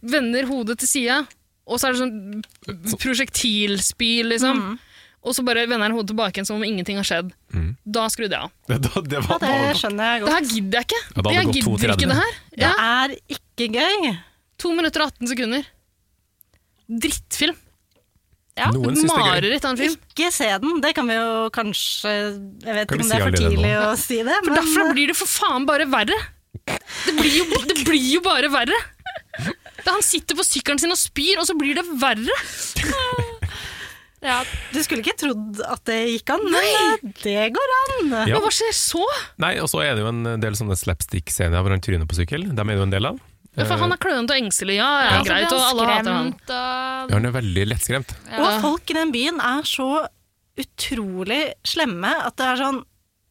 vender hodet til sida, og så er det sånn prosjektilspy, liksom. Og så bare vender han hodet tilbake igjen som om ingenting har skjedd. Da skrudde jeg av. Det, det ja, var, det skjønner jeg Det godt. her gidder jeg ikke. Ja, da hadde jeg det gått gidder 2.30. ikke det her. Det Ja, er ikke gøy. 2 minutter og 18 sekunder. Drittfilm. Ja, Noen syns det er gøy. Mareritt av en film. Ikke se den. Det kan vi jo kanskje Jeg vet Kan vi ikke om si det er allerede for tidlig nå? å si det, For men derfra blir det for faen bare verre. Det blir jo, det blir jo bare verre. Da han sitter på sykkelen sin og spyr, og så blir det verre. Ja, du skulle ikke trodd at det gikk an. Men eh, det går an. Ja. Men hva skjer så? Nei, og så er det jo en del sånne slapstick-scener hvor han tryner på sykkel. Dem er det jo en del av. Ja, For han er klønete og engstelig, ja, ja, altså, blir greit, og han alle hater han. skremt, og- Eh, Han er veldig lettskremt. Og folk i den byen er så utrolig slemme at det er sånn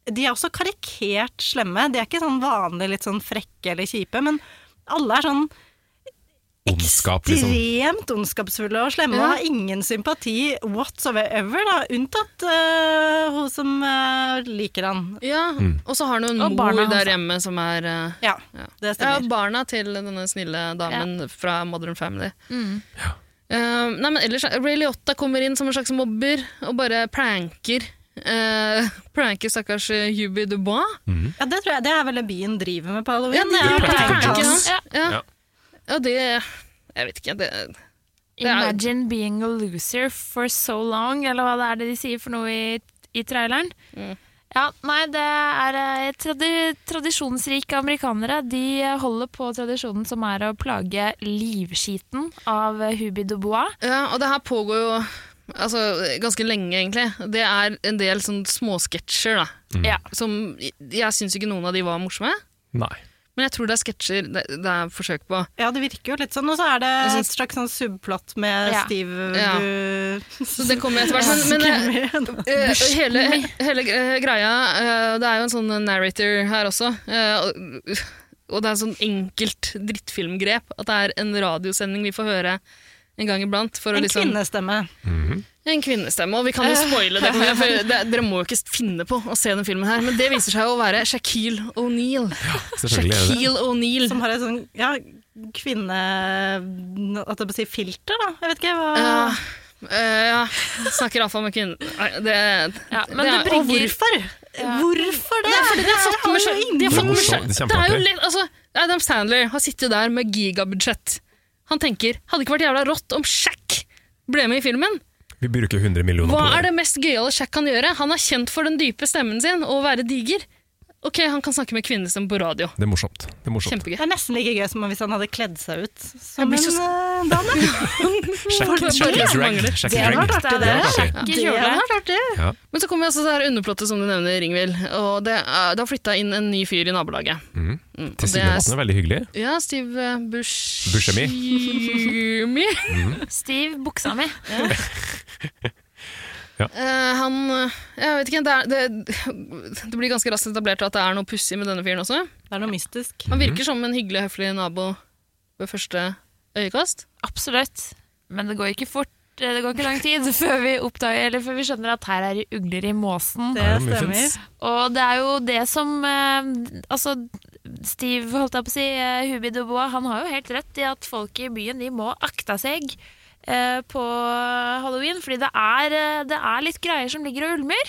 De er også karikert slemme. De er ikke sånn vanlig litt sånn frekke eller kjipe, men alle er sånn Ondskap, liksom. Ekstremt ondskapsfulle og slemme, Ja. og har ingen sympati whatsoever, da, unntatt øh, hun som øh, liker han. Ja, Mm. Og så har han jo Og en barna mor hans, der da. hjemme som er eh, Ja, det Ja, stemmer. barna til denne snille damen fra Modern Family. Mm. Eh, nei, men ellers, Ray Liotta kommer inn som en slags mobber og bare pranker eh, pranker stakkars eh, Hubie Dubois. Ja, det tror jeg det er vel det byen driver med på halloween. Ja, de Jeg har pranker tenkt pranker sånn. hans. Ja. Ja. Ja, det Jeg vet ikke. Det, det er, Imagine being a loser for so long, eller hva det er det de sier for noe i, i traileren. Mm. Ja, nei, det er eh, tradi tradisjonsrike amerikanere. De holder på tradisjonen som er å plage livskiten av eh, Hubie Dubois. ja, og det her pågår jo altså, ganske lenge, egentlig. Det er en del sånn småsketsjer, da. Ja. Som Jeg syns ikke noen av de var morsomme, Nei. men jeg tror det er sketsjer det, det er forsøk på. Ja, det virker jo litt sånn. Og så er det Jeg et slags sånn subplott med Ja. Steve Ja. Bu- Så det kommer etter hvert. Men, men eh, eh, hele, hele eh, greia eh, Det er jo en sånn narrator her også. eh, og- Og det er sånn enkelt drittfilmgrep. At det er en radiosending vi får høre en gang iblant. For å En liksom, kvinnestemme. en kvinnestemme. Og vi kan jo Eh. spoile det, for det, dere må jo ikke finne på å se den filmen her. Men det viser seg å være Shaquille O'Neal. Selvfølgelig er det det. Shaquille O'Neal. Som har et sånn ja, kvinne... At jeg må si filter, da. Jeg vet ikke hva Ja, eh, ja. Snakker iallfall med kvinner. Nei, Det, Ja, men er- det Og bringer hvorfor? Hvorfor det? Det er fordi de har fått med seg de har Det er fått med morsomt, seg- det er Det er jo kjempeartig. lett, altså, Adam Sandler har sittet der med gigabudsjett. Han tenker hadde ikke vært jævla rått om Shack ble med i filmen. Vi bruker 100 millioner Hva på er det. det mest gøyale Shack kan gjøre? Han er kjent for den dype stemmen sin og å være diger. Ok, han kan snakke med kvinnestemme på radio. Det er morsomt. Det er morsomt. Kjempegøy. Det er nesten like gøy som hvis han hadde kledd seg ut som blir en så eh, dame. Sjekk Det er sjekk bare- is rag. mangler. Sjekk is Det rag. hadde vært artig, det. artig. Ikke Det kjole. hadde vært artig. Ja. Men så kommer altså det her underplottet som du nevner, Ingvild. Og det, er, det har flytta inn en ny fyr i nabolaget. Mm. Mm, og det er- Tilsynelatende veldig hyggelig. Ja, Steve eh, Bush... Buscemi. Buscemi. Stiv buksa mi. Eh, han Jeg vet ikke, det, er, det, det blir ganske raskt etablert at det er noe pussig med denne fyren også. Det er noe mystisk. Han virker som en hyggelig, høflig nabo ved første øyekast. Absolutt. Men det går ikke fort. eh, Det går ikke lang tid før vi oppdager, eller før vi skjønner at her er det ugler i måsen. Det Ja, muffins. stemmer. Og det er jo det som eh, Altså, Steve, holdt jeg på å si, eh, Hubie Dubois, han har jo helt rett i at folk i byen de må akte seg eh, på halloween, fordi det er, eh, det er litt greier som ligger og ulmer.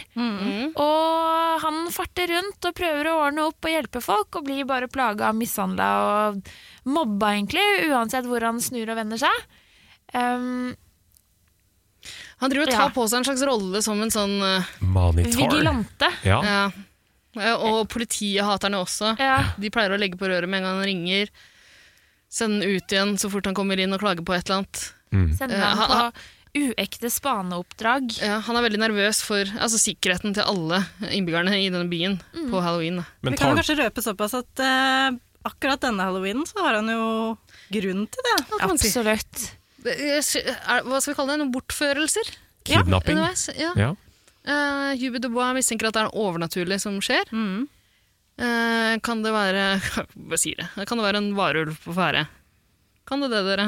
Og han farter rundt og prøver å ordne opp og hjelpe folk, og blir bare plaga, mishandla og mobba, egentlig, uansett hvor han snur og vender seg. Um, Han driver og Ja. tar på seg en slags rolle som en sånn eh, Manitar. vigilante. Ja. ja. Eh, Og politiet hater han jo også. Ja. De pleier å legge på røret med en gang han ringer. Sende den ut igjen så fort han kommer inn og klager på et eller annet. Sender Eh, han ha- på uekte spaneoppdrag. Ja, han er veldig nervøs for altså, sikkerheten til alle innbyggerne i denne byen på halloween. Da. Men Vi tar kan jo kanskje røpe såpass at eh, akkurat denne halloweenen så har han jo grunn til det. Hva, kan man si? Absolutt. Det- er, hva skal vi kalle det? Noen bortførelser? kidnapping. Underveis, ja. Ja. Eh, Hubie Dubois mistenker at det er noe overnaturlig som skjer. Eh, kan det være Hva sier jeg? Kan det være en varulv på ferde? Kan det det, dere?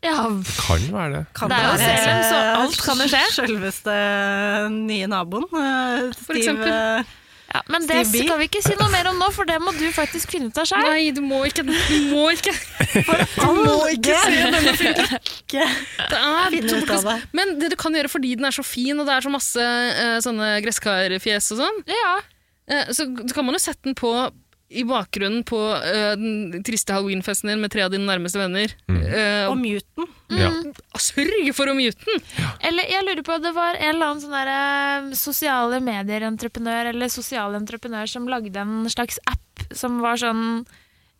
Ja, Kan være det. Kan Det er jo være Salem, så alt kan jo skje. Selveste nye naboen. eh, Steve, eksempel. eh, ja men det Steve B. skal vi ikke si noe mer om nå, for det må du faktisk finne ut av sjøl. Nei, du må ikke! Du må ikke! Han må ikke se denne filmen! Det er Finne så ut av bortkast- Men det du kan gjøre fordi den er så fin, og det er så masse eh, sånne gresskarfjes og sånn, Ja. eh, så g- kan man jo sette den på i bakgrunnen på eh, den triste halloweenfesten din med tre av dine nærmeste venner. Eh, Og muten. Ja. og sørg for å mute den! Eller jeg lurer på, det var en eller annen sånn der, eh, sosiale medier-entreprenør eller sosial entreprenør som lagde en slags app som var sånn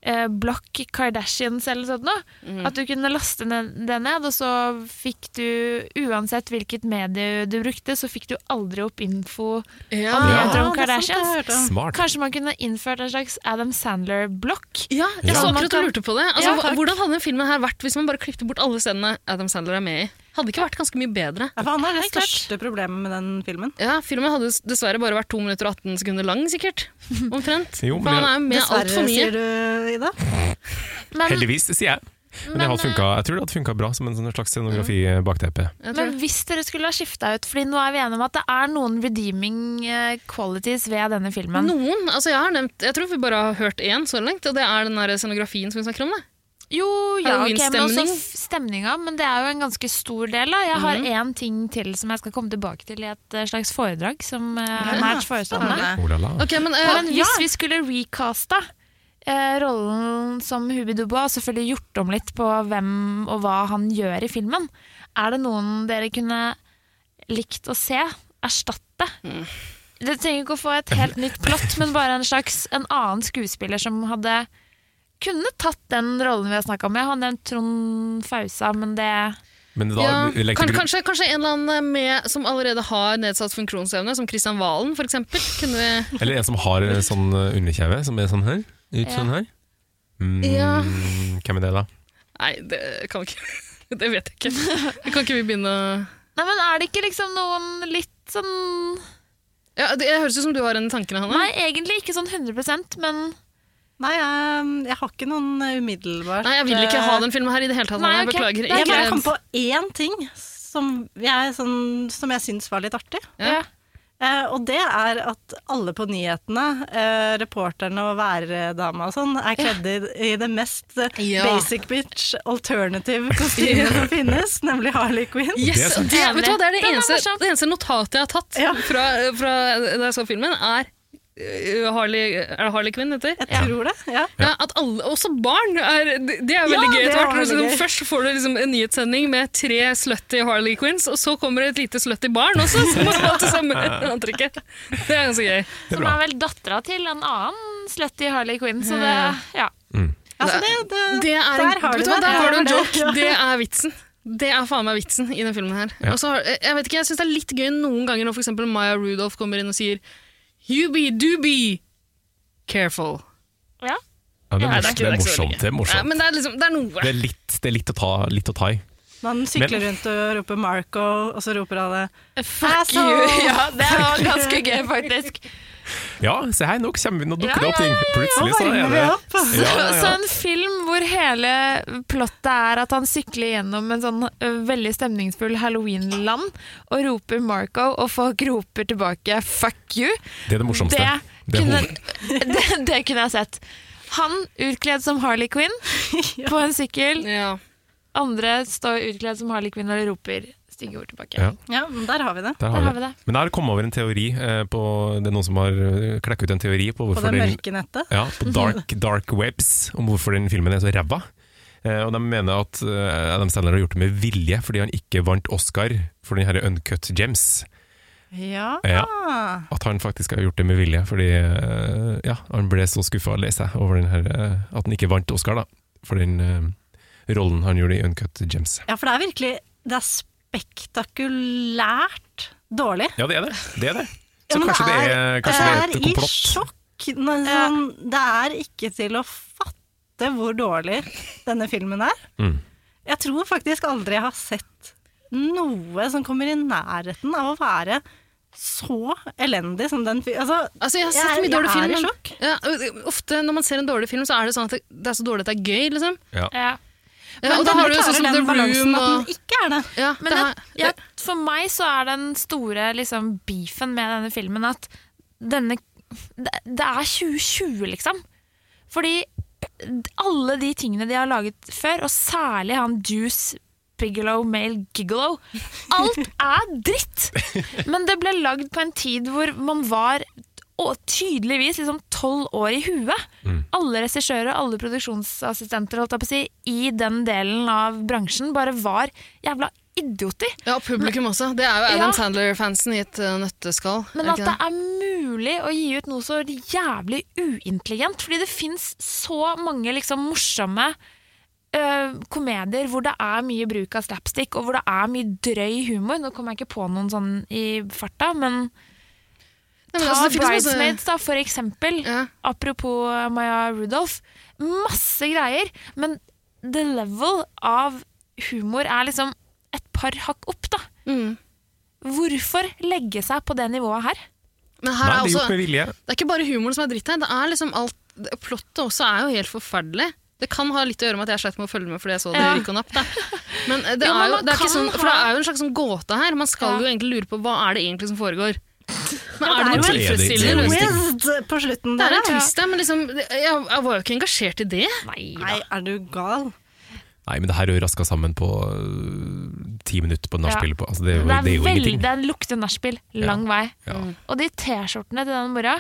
eh, Block Kardashians eller sånt noe. At du kunne laste ned, det ned, og så fikk du, uansett hvilket medie du brukte, så fikk du aldri opp info Ja, om Ja. nyheter om det er sant, det Kardashians. har jeg hørt om. Smart. Kanskje man kunne innført en slags Adam Sandler-blokk. Ja, jeg Ja. så Man akkurat kan- og lurte på det. Altså, Ja, hva- takk. hvordan hadde den filmen her vært hvis man bare klippte bort alle scenene Adam Sandler er med i? Hadde det ikke vært ganske mye bedre? Ja, for han er det Helt klart. største problemet med den filmen. Ja, Filmen hadde s- dessverre bare vært 2 minutter og 18 sekunder lang, sikkert. Omtrent. Jo, men For han jeg- er jo med altfor Dessverre, mye. sier du, Ida. Men, Heldigvis, sier jeg. Men det hadde funket, jeg tror det hadde funka bra som en sånn slags scenografi-bakteppe. Jeg tror men hvis dere skulle ha skifta ut, Fordi nå er vi enige om at det er noen redeeming eh, qualities ved denne det. filmen. Noen, altså jeg har nevnt Jeg tror vi bare har hørt én så langt, og det er den der scenografien som vi snakker om. Det. Jo, ja, ok, men også Halloween-stemning. f- stemninga, men det er jo en ganske stor del. da. Jeg har Mhm. én ting til som jeg skal komme tilbake til i et eh, slags foredrag som eh, er nært forestående. spennende. Oh la la. Ok, men, eh, hvis ja. vi skulle recasta eh, rollen som Hubi Dubba, og selvfølgelig gjort om litt på hvem og hva han gjør i filmen, er det noen dere kunne likt å se erstatte? Mm. Det trenger ikke å få et helt nytt plott, men bare en slags en annen skuespiller som hadde kunne tatt den rollen vi har snakka om. Jeg har nevnt Trond Fausa, men det Men da Ja, legger kan, du- kanskje, kanskje en eller annen eh, med, som allerede har nedsatt funksjonsevne, som Kristian Valen f.eks. Kunne Eller en som har en sånn eh, underkjeve som er sånn her. Ut Ja. sånn her. Mm, Ja. Hvem er det, da? Nei, det kan vi ikke Det vet jeg ikke. Kan ikke vi begynne å Nei, men er det ikke liksom noen litt sånn ja, Det høres ut som du har en i tankene, Hanne. Nei, egentlig ikke sånn 100 men Nei, jeg, jeg har ikke noen eh, umiddelbart Nei, jeg vil ikke ha den filmen her i det hele tatt. Hanne. jeg Eh, ok. beklager. Jeg Ikke- bare kom på én ting som jeg, sånn, som jeg syns var litt artig. Ja. Eh, og det er at alle på nyhetene, eh, reporterne og værdama og sånn, er kledd i, i det mest eh, Ja. basic bitch alternative kostymet som finnes, nemlig Harley Quinn. Yes, det, vet du hva, det er det Den eneste, morsom. det eneste notatet jeg har tatt fra, fra da jeg så filmen, er øh, Harley, er det Harley Quinn heter? Jeg tror det, ja. at alle, også barn, er, det det er Ja, veldig gøy det etter var hvert. veldig Liksom, gøy. Først får du liksom en nyhetssending med tre slutty Harley Quinns, og så kommer det et lite slutty barn også, som har fått det samme antrekket. Det er ganske gøy. Som er vel dattera til en annen slutty Harley Quinn, så det Ja. Altså, det, det, Det er, der har vet du hva, det. Der har du en Ja. joke. Det er vitsen. Det er faen meg vitsen i den filmen her. Ja. Og så har- eh, jeg vet ikke, jeg syns det er litt gøy noen ganger når for eksempel Maya Rudolph kommer inn og sier You be, do be careful. Ja. Ja, det, er Nei, morsomt, ikke- det er ikke så veldig gøy. morsomt. Det er Ja, morsomt. men det er liksom, det er noe. Det er litt, det er litt, å, ta, litt å ta i. Man sykler Men- rundt og roper Marco, og så roper han det Fuck you. Ja, det var ganske gøy, faktisk. Ja, se her, nå, kommer, vi- nå dukker Ja, det opp ting. ja, ja, ja. Plutselig så er det Så, Ja, ja, så ja. en film hvor hele plottet er at han sykler gjennom en sånn ø, veldig stemningsfull Halloween-land og roper Marco, og folk roper tilbake 'fuck you'. Det er det morsomste. Det Det er kunne, hoved- det, det kunne jeg sett. Han utkledd som Harley Quinn på en sykkel. Andre står utkledd som Harley Quinn og roper stygge ord tilbake. Ja. men der har vi det. Der har vi det. Men jeg har kommet over en teori eh, på, Det er noen som har eh, klekket ut en teori på hvorfor det den- mørke nettet? Ja, på dark, dark webs, om hvorfor den filmen er så ræva. Eh, og de mener at eh, Adam Sandler har gjort det med vilje, fordi han ikke vant Oscar for den her Uncut Gems. Ja. Ja. At han faktisk har gjort det med vilje, fordi eh, ja, han ble så skuffa, leser jeg, over den her, eh, at han ikke vant Oscar da, for den eh, rollen han gjorde i Uncut Gems. ja, for det er virkelig det er spektakulært dårlig. Ja, det er det. det, er det. Ja, Så men kanskje det er, kanskje det er et i komplott. sjokk. men Sånn, det er ikke til å fatte hvor dårlig denne filmen er. Mm. Jeg tror faktisk aldri jeg har sett noe som kommer i nærheten av å være så elendig som den filmen. Altså, Altså, jeg har sett mye dårlig jeg film. er i men- sjokk. Ja, og- ofte når man ser en dårlig film, så er det sånn at det, det er så dårlig at det er gøy, liksom. Ja. Ja, og da denne har du jo sånn som klarer den The Room balansen at og den ikke er det. Ja, Men det jeg, er- jeg, for meg så er den store liksom, beefen med denne filmen at denne Det, det er 2020, liksom. Fordi alle de tingene de har laget før, og særlig han Juice Bigelow, Male Gigolo Alt er dritt! Men det ble lagd på en tid hvor man var og tydeligvis liksom tolv år i huet. Alle regissører og alle produksjonsassistenter holdt jeg på å si, i den delen av bransjen bare var jævla idioter. Ja, publikum også. Det er jo Adam Ja. Sandler-fansen i et eh, nøtteskall. Men er at ikke det er mulig å gi ut noe så jævlig uintelligent. Fordi det fins så mange liksom morsomme øh, komedier hvor det er mye bruk av slapstick, og hvor det er mye drøy humor. Nå kommer jeg ikke på noen sånn i farta, men Nei, men Ta altså, det finnes masse- Bridesmaids, da, for eksempel. Apropos eh, Maya Rudolph. Masse greier, men the level av humor er liksom et par hakk opp, da. Hvorfor legge seg på det nivået her? Men her Nei, er det er også, gjort med vilje. det er ikke bare humoren som er dritt her. Det er liksom alt, det- Plottet også er jo helt forferdelig. Det kan ha litt å gjøre med at jeg slet med å følge med fordi jeg så det Ja. like og napp. Da. Men eh, det Jo, men er jo man det er kan ikke sånn, for det ha- er jo en slags sånn gåte her. Man skal jo egentlig lure på hva er det egentlig som foregår. Men er det noe Så er det- det er tilfredsstillende jo en løsning? stigma. på slutten Det der, er en ja. twist der, men liksom, jeg, jeg var jo ikke engasjert i det. Nei, er du gal? Nei, men det her er jo raska sammen på øh, ti minutter på nachspiel. Ja. på- Altså, det, er jo- det, det er jo veldig, ingenting. det lukter nachspiel lang vei. Ja. Og de T-skjortene til den mora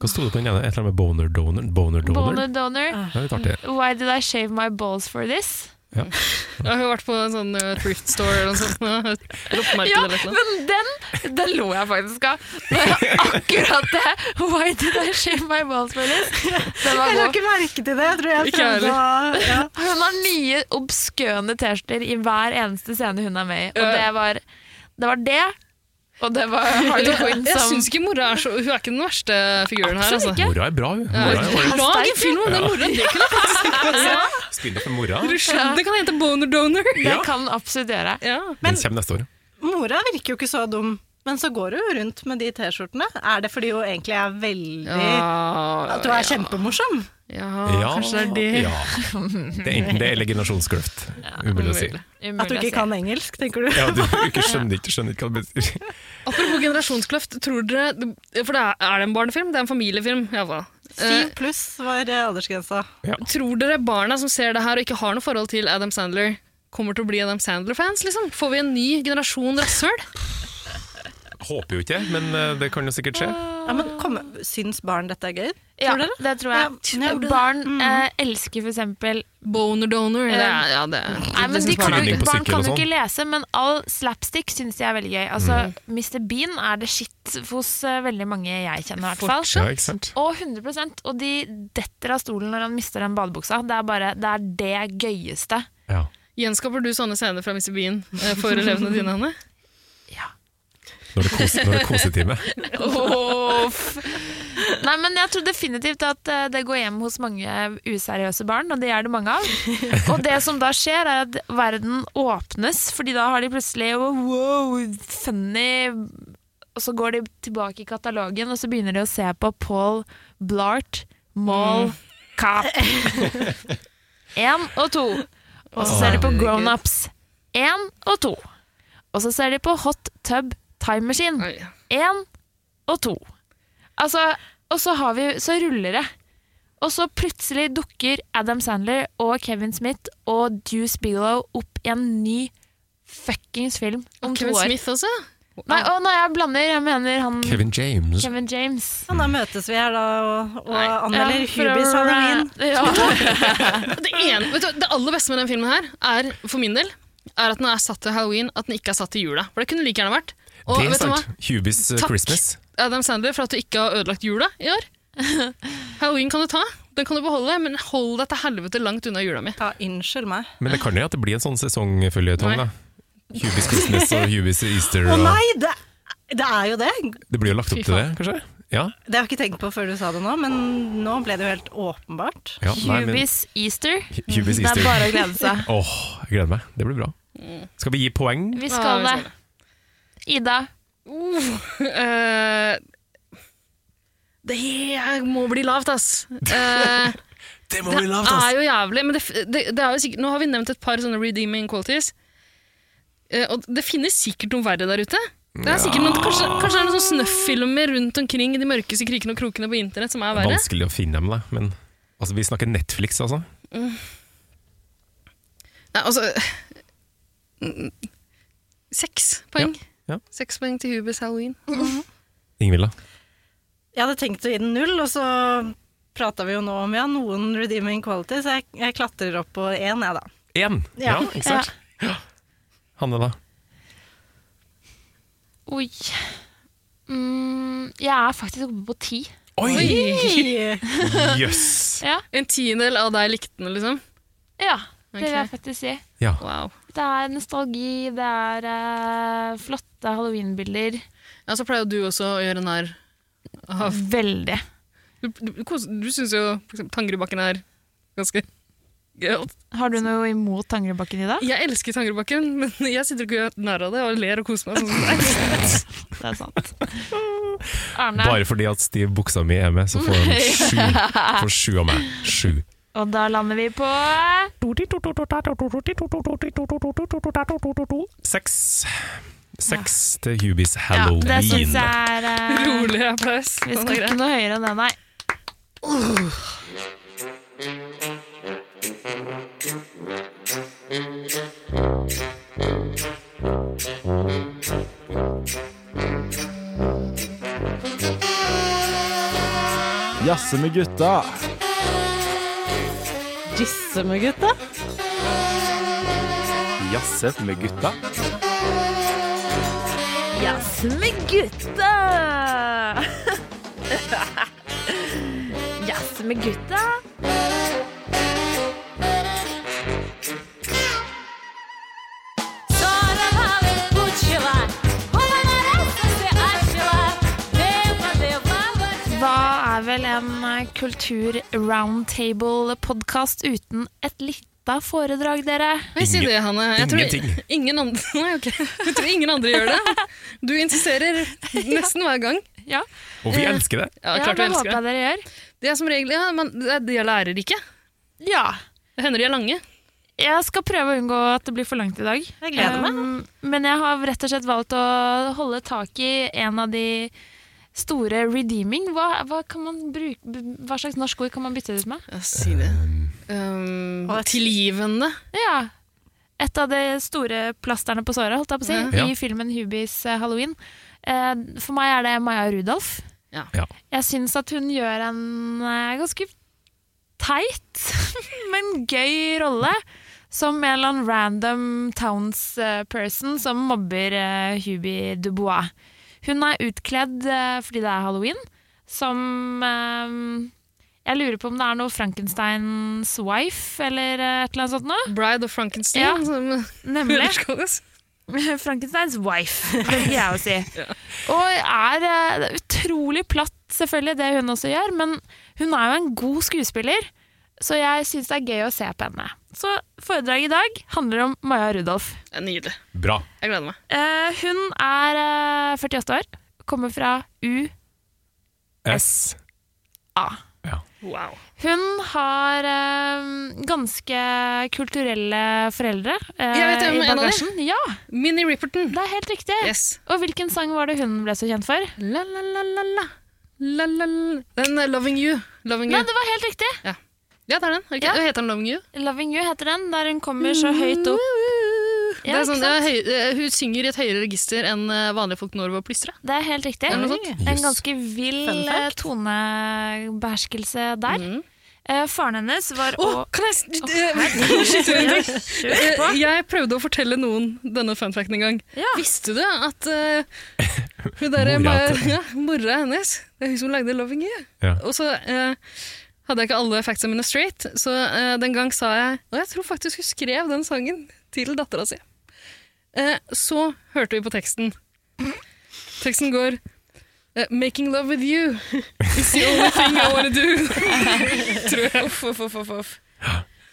Hva sto det på den ene? Et eller annet med boner donor? Boner donor? Boner donor. Det er litt artig. Why did I shave my balls for this? Ja. Jeg har jo vært på en sånn eh, thrift store eller noe sånt. nå. Loppemarked Ja, eller et eller annet. men den, den lo jeg faktisk av. Men akkurat det Why did I shave my balls for this? Den var Jeg la god. ikke merke til det. Jeg tror jeg Ikke jeg prøvde å ja. Hun har nye obskøne T-skjorter i hver eneste scene hun er med i. Og Ja. det var det, var det og det var Harley Quinn Jeg som syns ikke mora er så Hun er ikke den verste figuren her, altså. ikke. Mora er bra, hun. Ja, Mora er jo- Lag en film om den mora! Det kunne jeg faktisk Spiller for mora. gjort. Det kan hete Boner Donor. Det kan den absolutt gjøre. Ja. Den kommer neste år. Mora virker jo ikke så dum, men så går hun jo rundt med de T-skjortene. Er det fordi hun egentlig er veldig At hun er kjempemorsom? Ja, Ja, kanskje det er det. Ja. Det er enten det eller generasjonskløft. Umulig å si. At hun ikke kan engelsk, tenker du? Ja, du ikke skjønner ikke, skjønner ikke hva det betyr. Apropos generasjonskløft, tror dere For det er, er det en barnefilm? Det er en familiefilm, iallfall. Eh, Syv pluss var eh, aldersgrensa. Tror dere barna som ser det her og ikke har noe forhold til Adam Sandler, kommer til å bli Adam Sandler-fans? liksom? Får vi en ny generasjon rasshøl? Håper jo ikke, men eh, det kan jo sikkert skje. Ja, men kom, syns barn dette er gøy? Ja, Tror dere? det tror jeg. Ja, tror du Mm. Barn eh, elsker for eksempel Boner donor? Det er, Eh, ja, det, Nei, men det de synes barna kan, er liksom Tryning gøy. liksom på sykkel barn kan og jo ikke sånn. Mm. lese, men all slapstick syns de er veldig gøy. Altså, Mr. Bean er det shit hos eh, veldig mange jeg kjenner, i hvert fall. Ja, ikke sant? Og 100 Og de detter av stolen når han mister den badebuksa. Det er bare det, er det gøyeste. Ja. Gjenskaper du sånne scener fra Mr. Bean eh, for elevene dine, Hanne? Når det kos- når det er kosetime. Uff. Nei, men jeg tror definitivt at eh, det går hjem hos mange useriøse barn, og det er det mange av. Og det som da skjer, er at verden åpnes, fordi da har de plutselig wow, funny Og så går de tilbake i katalogen, og så begynner de å se på Paul Blart Mall Cop. Én og to. Og så ser de på Grown Ups. Én og to. Og så ser de på Hot Tub Time Machine. Oi. Én og to. Altså, og så, har vi, så ruller det. Og så plutselig dukker Adam Sandler og Kevin Smith og Juice Bigelow opp i en ny fuckings film om Kevin to år. Smith også? Nei, og når jeg blander, jeg mener Mm. han Kevin, Kevin James. James. Ja, da møtes vi her da og, og Ja, anmelder for å- Hubis Halloween. Ja. Det, ene, vet du, det aller beste med den filmen her, er, for min del, er at den er satt til halloween, at den ikke er satt til jula. For det kunne det like gjerne vært. Og Det er vet du hva? sant. Hubis eh, Takk. Christmas. Adam Sandler for at du ikke har ødelagt jula i år. Halloween kan du ta, den kan du beholde, men hold deg til helvete langt unna jula mi. Ja, unnskyld meg. Men det kan jo at det blir en sånn sesongføljetong, Nei. da. Hubis Christmas og Hubis Easter. Å Og nei, det, det er jo det! det blir jo lagt opp Fy til det, kanskje? Ja. Det har jeg ikke tenkt på før du sa det nå, men nå ble det jo helt åpenbart. ja nei, men- Hubis Easter. Hubis Det er Easter. bare å glede seg. Åh, jeg gleder meg. Det blir bra. Skal vi gi poeng? Vi skal det. Ja, Ida, Uh, Eh, det her må bli lavt, ass. Eh, Det det er jo jævlig, men det, f- det, det er jo sikkert, nå har vi nevnt et par sånne redeeming qualities. Eh, og det finnes sikkert noe verre der ute. Det er sikkert noen, kanskje, kanskje det er noen sånne snøff-filmer rundt omkring i de mørkeste krikene og krokene på internett som er verre. Vanskelig å finne dem, da. Men altså, vi snakker Netflix, altså. Nei, altså mm, Seks poeng. Ja, ja. Seks poeng til Hubes Halloween. Ingvild, da? Jeg hadde tenkt å gi den null, og så prata vi jo nå om ja, noen redeeming qualities. Jeg, jeg klatrer opp på én, jeg, da. Én! Ja, Ja. ikke sant? Ja. Hanne, da? oi mm, Jeg er faktisk oppe på ti. Oi! Oi. Jøss! Ja, En tiendedel av deg likte den, liksom? ja det vil Ok. jeg faktisk si. Ja. Wow. Det er nostalgi, det er eh, flotte halloweenbilder. Ja, så pleier jo du også å gjøre narr av Veldig. Du, du, du, kos- du syns jo for eksempel Tangerudbakken er ganske gøyal. Har du noe imot Tangerudbakken i dag? Jeg elsker Tangerudbakken, men jeg sitter ikke og gjør narr av det og ler og koser meg. sånn som deg. Det er sant. Arne, Bare fordi at stiv buksa mi er med, så får han sju. Får sju av meg. Sju. og da lander vi på Seks. Seks til Hubies Ja, Halloween. det syns jeg er eh, Rolig applaus. Vi Den skal er ikke noe høyere enn det, nei. Jazze med gutta. Jizze med gutta. Jazze med gutta. Jazz med gutta! Jazz med gutta. Сорвали пучева, губа нарестися ачила, дива, дива, Hva er vel en eh, kultur roundtable-podkast uten et lite foredrag, dere? Nei, si det, Hanne. Jeg tror Ingenting. ingen andre, nei, ok. jeg tror ingen andre gjør det. Du insisterer nesten hver gang. Ja, Og vi elsker det. ja klart det vi elsker håper jeg det. dere gjør. Det er som regel ja, man, det er- de er lærerike. Ja. Det hender de er lange. Jeg skal prøve å unngå at det blir for langt i dag. Jeg gleder meg. men jeg har rett og slett valgt å holde tak i en av de store redeeming. Hva, hva, kan man bruke, hva slags norsk ord kan man bytte det ut med? Ja, si det. Um, tilgivende. Ja. Et av de store plasterne på såret, holdt jeg på å si, Ja. i filmen Hubis eh, Halloween. Eh, For meg er det Maja Rudolf. Ja. Jeg syns at hun gjør en eh, ganske teit, men gøy rolle. Som en eller annen random townsperson som mobber eh, Hubie Dubois. Hun er utkledd eh, fordi det er halloween, som eh, Jeg lurer på om det er noe Frankensteins wife eller eh, et eller annet sånt noe. Bride of Frankenstein. Ja, som nemlig. ellers kalles. Frankensteins wife, velger jeg å si. Og er eh, det er utrolig platt, selvfølgelig, det hun også gjør, men hun er jo en god skuespiller, så jeg syns det er gøy å se på henne. Så foredraget i dag handler om Maja Rudolf. Det er Nydelig. Bra. Jeg gleder meg. Eh, Hun er eh, 48 år, kommer fra USA. S. Wow. Hun har eh, ganske kulturelle foreldre eh, Jeg vet hvem i en av de. bagasjen. Ja, Minnie Ripperton. det er helt riktig. Yes. Og hvilken sang var det hun ble så kjent for? La, la, la, la, la. La, la, la. Den er 'Loving You'. Loving Nei, you. det var helt riktig. Ja. ja, det er den. Er det ikke? Ja. det? Heter den 'Loving You'? Loving You heter den, der hun kommer så høyt opp. Det Ja, er sånn, ikke sant? det er høy, eh, hun synger i et høyere register enn eh, vanlige folk når ved å plystre. Det er helt riktig. Er det noe sånt? En ganske vill sånn. Fun eh, fact. Mm. tonebeherskelse der. Eh, faren hennes var Å, å- kan jeg s- Å, eh, herregud. skyte inn en ting? Kjør på. Eh, Jeg prøvde å fortelle noen denne funfacten en gang. Visste du at eh, hun derre Mora mora, til- ja, mora hennes Det er hun som lagde 'Loving You'. Ja. Og så eh, hadde jeg ikke alle factsene mine straight, så eh, den gang sa jeg Og jeg tror faktisk hun skrev den sangen til dattera si. Eh, så hørte vi på teksten. Teksten går eh, 'Making love with you is the only thing I wanna do'. tror jeg. Uff, uff, uff, uff, uff.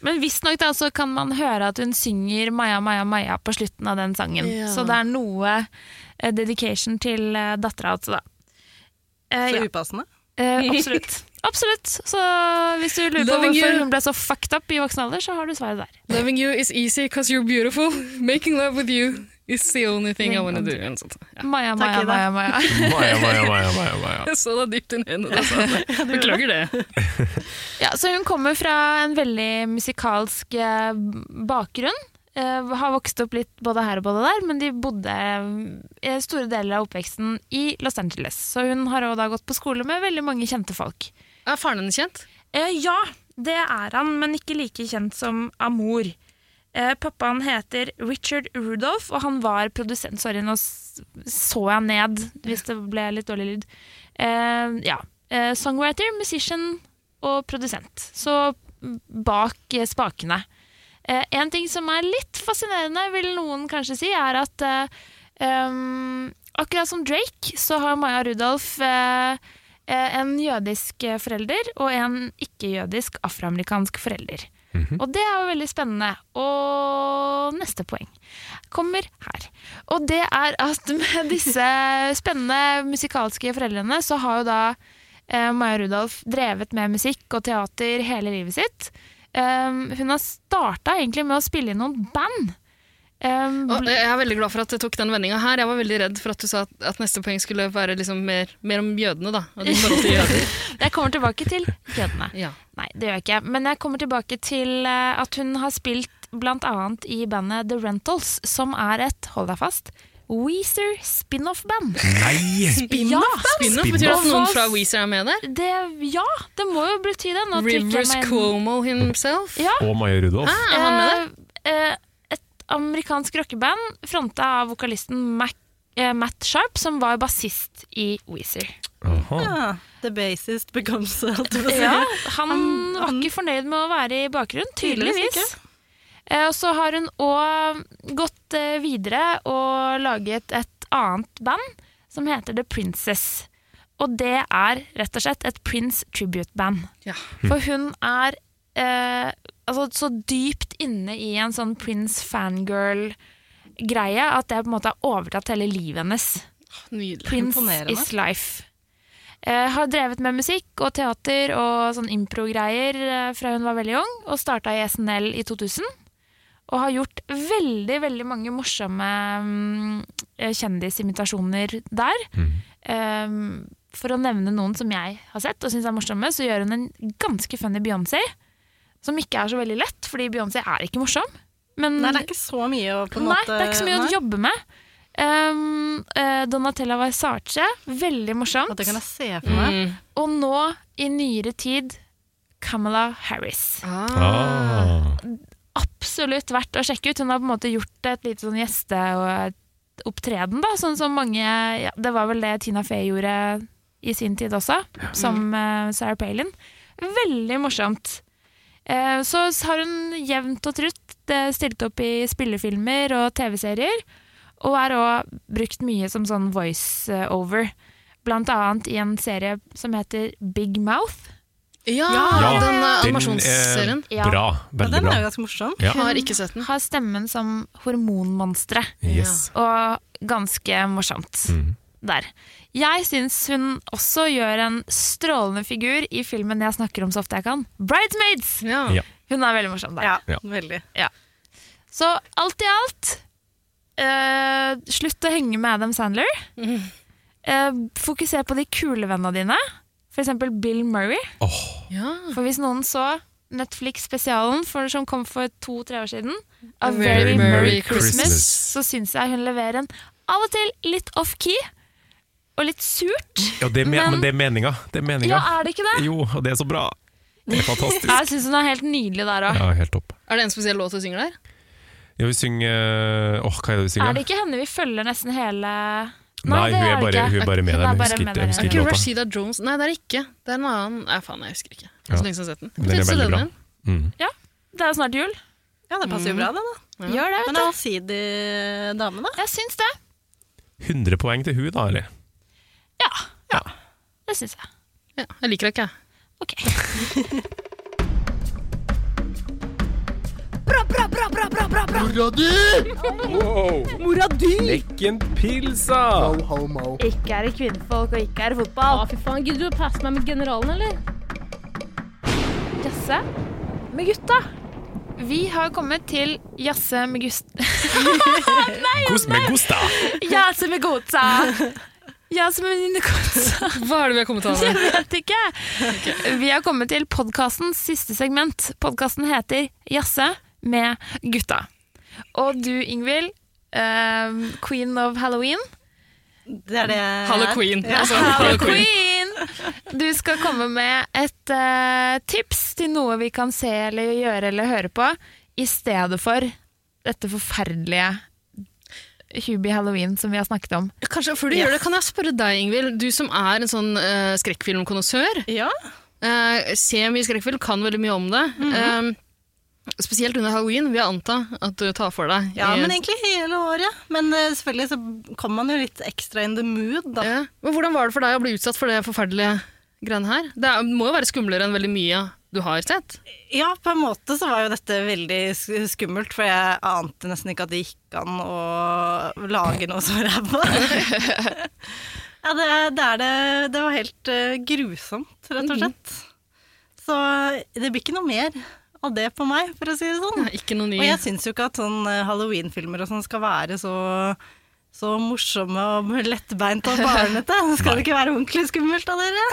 Men visstnok da, så kan man høre at hun synger Maja, Maja, Maja på slutten av den sangen. Ja. Så det er noe eh, dedication til eh, dattera altså, da. Eh, Så ja. upassende. Eh, absolutt. Absolutt. Så hvis du lurer på Loving hvorfor you. hun ble så fucked up i voksen alder, så har du svaret der. Loving you is easy because you're beautiful. Making love with you is the only thing I wanna do. Eller noe sånt. Ja. Maja, Takk, Maja, Ida. Maja, Maja. Maja, Maja, Maja, Maja, Maja. Jeg så deg dypt inn i øynene da jeg sa det. Beklager det. Ja, så hun kommer fra en veldig musikalsk eh, bakgrunn. Eh, har vokst opp litt både her og både der, men de bodde eh, store deler av oppveksten i Los Angeles. Så hun har også da gått på skole med veldig mange kjente folk. Er faren hennes kjent? Eh, ja, det er han, men ikke like kjent som Amor. Eh, pappaen heter Richard Rudolph, og han var produsent. Sorry, nå s- så jeg ned hvis det ble litt dårlig lyd. Eh, ja. Eh, songwriter, musician og produsent. Så bak eh, spakene. Eh, en ting som er litt fascinerende, vil noen kanskje si, er at eh, ehm, akkurat som Drake, så har Maja Rudolf eh, eh, en jødisk eh, forelder og en ikke-jødisk afroamerikansk forelder. Og det er jo veldig spennende. Og neste poeng kommer her. Og det er at med disse spennende musikalske foreldrene, så har jo da eh, Maja Rudolf drevet med musikk og teater Ehm, hele livet sitt. Um, hun har starta egentlig med å spille i noen band. Ehm, Og jeg er veldig glad for at jeg tok den vendinga her. Jeg var veldig redd for at du sa at, at neste poeng skulle være liksom mer, mer om jødene, da. Og ditt forhold til jøder. jeg kommer tilbake til jødene. Ja. Nei, det gjør jeg ikke. Men jeg kommer tilbake til eh, at hun har spilt blant annet i bandet The Rentals, som er et, hold deg fast, Weezer spin-off-band. Nei! Spin-off-band? Spin-off betyr at noen fra Weezer er med der. Det, ja, det må jo bety det. Nå trykker jeg Rivers meg inn. Cuomo himself. Ja. Og Maja Rudolf. Ah, er han med der? Eh, eh, et amerikansk rockeband fronta av vokalisten Mac, eh, Matt Sharp, som var bassist i Weezer. Aha. Ja, the bassist becomes alt du si. Ja, han var ikke fornøyd med å være i bakgrunnen, Tydeligvis tydeligvis. Eh, Og så har hun òg gått eh, videre og laget et annet band som heter The Princess. Og det er rett og slett et Prince tribute-band. Ja. For hun er eh, altså, så dypt inne i en sånn Prince fangirl-greie at det på en måte har overtatt hele livet hennes. Nydelig. Prince Imponerende. is life. Eh, har drevet med musikk og teater og sånn impro-greier eh, fra hun var veldig ung, og starta i SNL i 2000. Og har gjort veldig veldig mange morsomme mm, eh, kjendisimitasjoner der. Eh, for å nevne noen som jeg har sett og syns er morsomme, så gjør hun en ganske funny Beyoncé. Som ikke er så veldig lett, fordi Beyoncé er ikke morsom. Men Nei, det er ikke så mye å på en Nei, måte det er ikke så mye Nei. å jobbe med. Um, eh, Donatella Versace, veldig Og morsomt. Det kan jeg se for Mm. meg. Mm. Og nå, i nyere tid, Camilla Harris. Ah. Absolutt verdt å sjekke ut. Hun har på en måte gjort et lite sånn gjesteopptreden, da. Sånn som mange ja, Det var vel det Tina Fey gjorde i sin tid også, som eh, Sarah Palin. Veldig morsomt. Eh, Så har hun jevnt og trutt eh, stilt opp i spillefilmer og TV-serier, og er òg brukt mye som sånn voiceover. Blant annet i en serie som heter Big Mouth. Ja, Ja, den eh, Den animasjonsserien. er bra. Ja, Veldig den er jo bra. ganske morsom. Ja. Har ikke sett den. Har stemmen som hormonmonsteret. Yes. Mm. Og ganske morsomt der. Jeg syns hun også gjør en strålende figur i filmen jeg snakker om så ofte jeg kan, Bridesmaids! Ja. Ja. Hun er veldig morsom der. Ja, Ja. veldig. Så alt i alt eh, Slutt å henge med Adam Sandler. Eh, fokuser på de kule vennene dine, f.eks. Bill Murray. Ja. For hvis noen så Netflix-spesialen for, som kom for to-tre år siden, A Very Very Merry Merry Christmas. Christmas, så syns jeg hun leverer en av og til litt off-key og litt surt. Ja, det er, men, Men- men det er meninga. Det er meninga. Ja, er det ikke det? Jo, og det er så bra. Det er fantastisk. Jeg syns hun er helt nydelig der òg. Ja, helt topp. Er det en spesiell låt du synger der? Ja, vi synger Åh, hva er det vi Er synger? det ikke henne vi følger nesten hele Nei, det hun er, det bare, hun er bare med Hun der. er men Jeg bare husker med ikke- jeg der, husker Er ikke ikke låta. Rashida Jones Nei, det er det ikke. Det er en annen Nei, faen, jeg husker ikke. Det er Ja. så lenge siden jeg har sett den. Den er Synes du veldig den bra. igjen? Mm. Det er jo snart jul. Ja, det passer jo bra, det, da. Gjør det, Mm. Men vet du. allsidig dame, da. Jeg syns det. 100 poeng til hun, da, eller? Ja. Det syns jeg. Ja, jeg liker det ikke, jeg. Ok. Mora di! Lekken pilsa! Ikke er det kvinnfolk, og ikke er det Ja, fotball. fy faen. Gidder du å passe meg med generalen, eller? Jasse med gutta. Vi har kommet til Jasse med gust... Kos med Gusta! Jasse med godsa! Jasse med dine godsa. Hva er det vi har kommet Jeg av? vet ikke. Vi har kommet til podkastens siste segment. Podkasten heter Jasse med gutta. Og du, Ingvild, eh, queen of halloween. Det er det Hallo Queen. Altså, hallo Queen. Halloween! Du skal komme med et eh, tips til noe vi kan se eller gjøre eller høre på, i stedet for dette forferdelige Hubie Halloween som vi har snakket om. Kanskje før du gjør det, kan jeg spørre deg, Ingvild. Du som er en sånn uh, skrekkfilmkonnissør. Ja. eh, ser mye skrekkfilm, kan veldig mye om det. Eh, spesielt under halloween. vil jeg anta at du tar for deg. ja, i- men egentlig hele året. Men eh, selvfølgelig så kommer man jo litt ekstra in the mood, da. Ja. Men hvordan var det for deg å bli utsatt for det forferdelige greiene her? Det er, må jo være skumlere enn veldig mye du har sett. Ja, på en måte så var jo dette veldig sk- skummelt, for jeg ante nesten ikke at det gikk an å lage noe så ræva. ja, det, det er det Det var helt eh, grusomt, rett og slett. Så det blir ikke noe mer av det på meg, for å si det sånn. Ikke noe ny. Og jeg syns jo ikke at sånn eh, Halloween-filmer og sånn skal være så så morsomme og lettbeint og barnete. Skal det ikke være ordentlig skummelt av dere?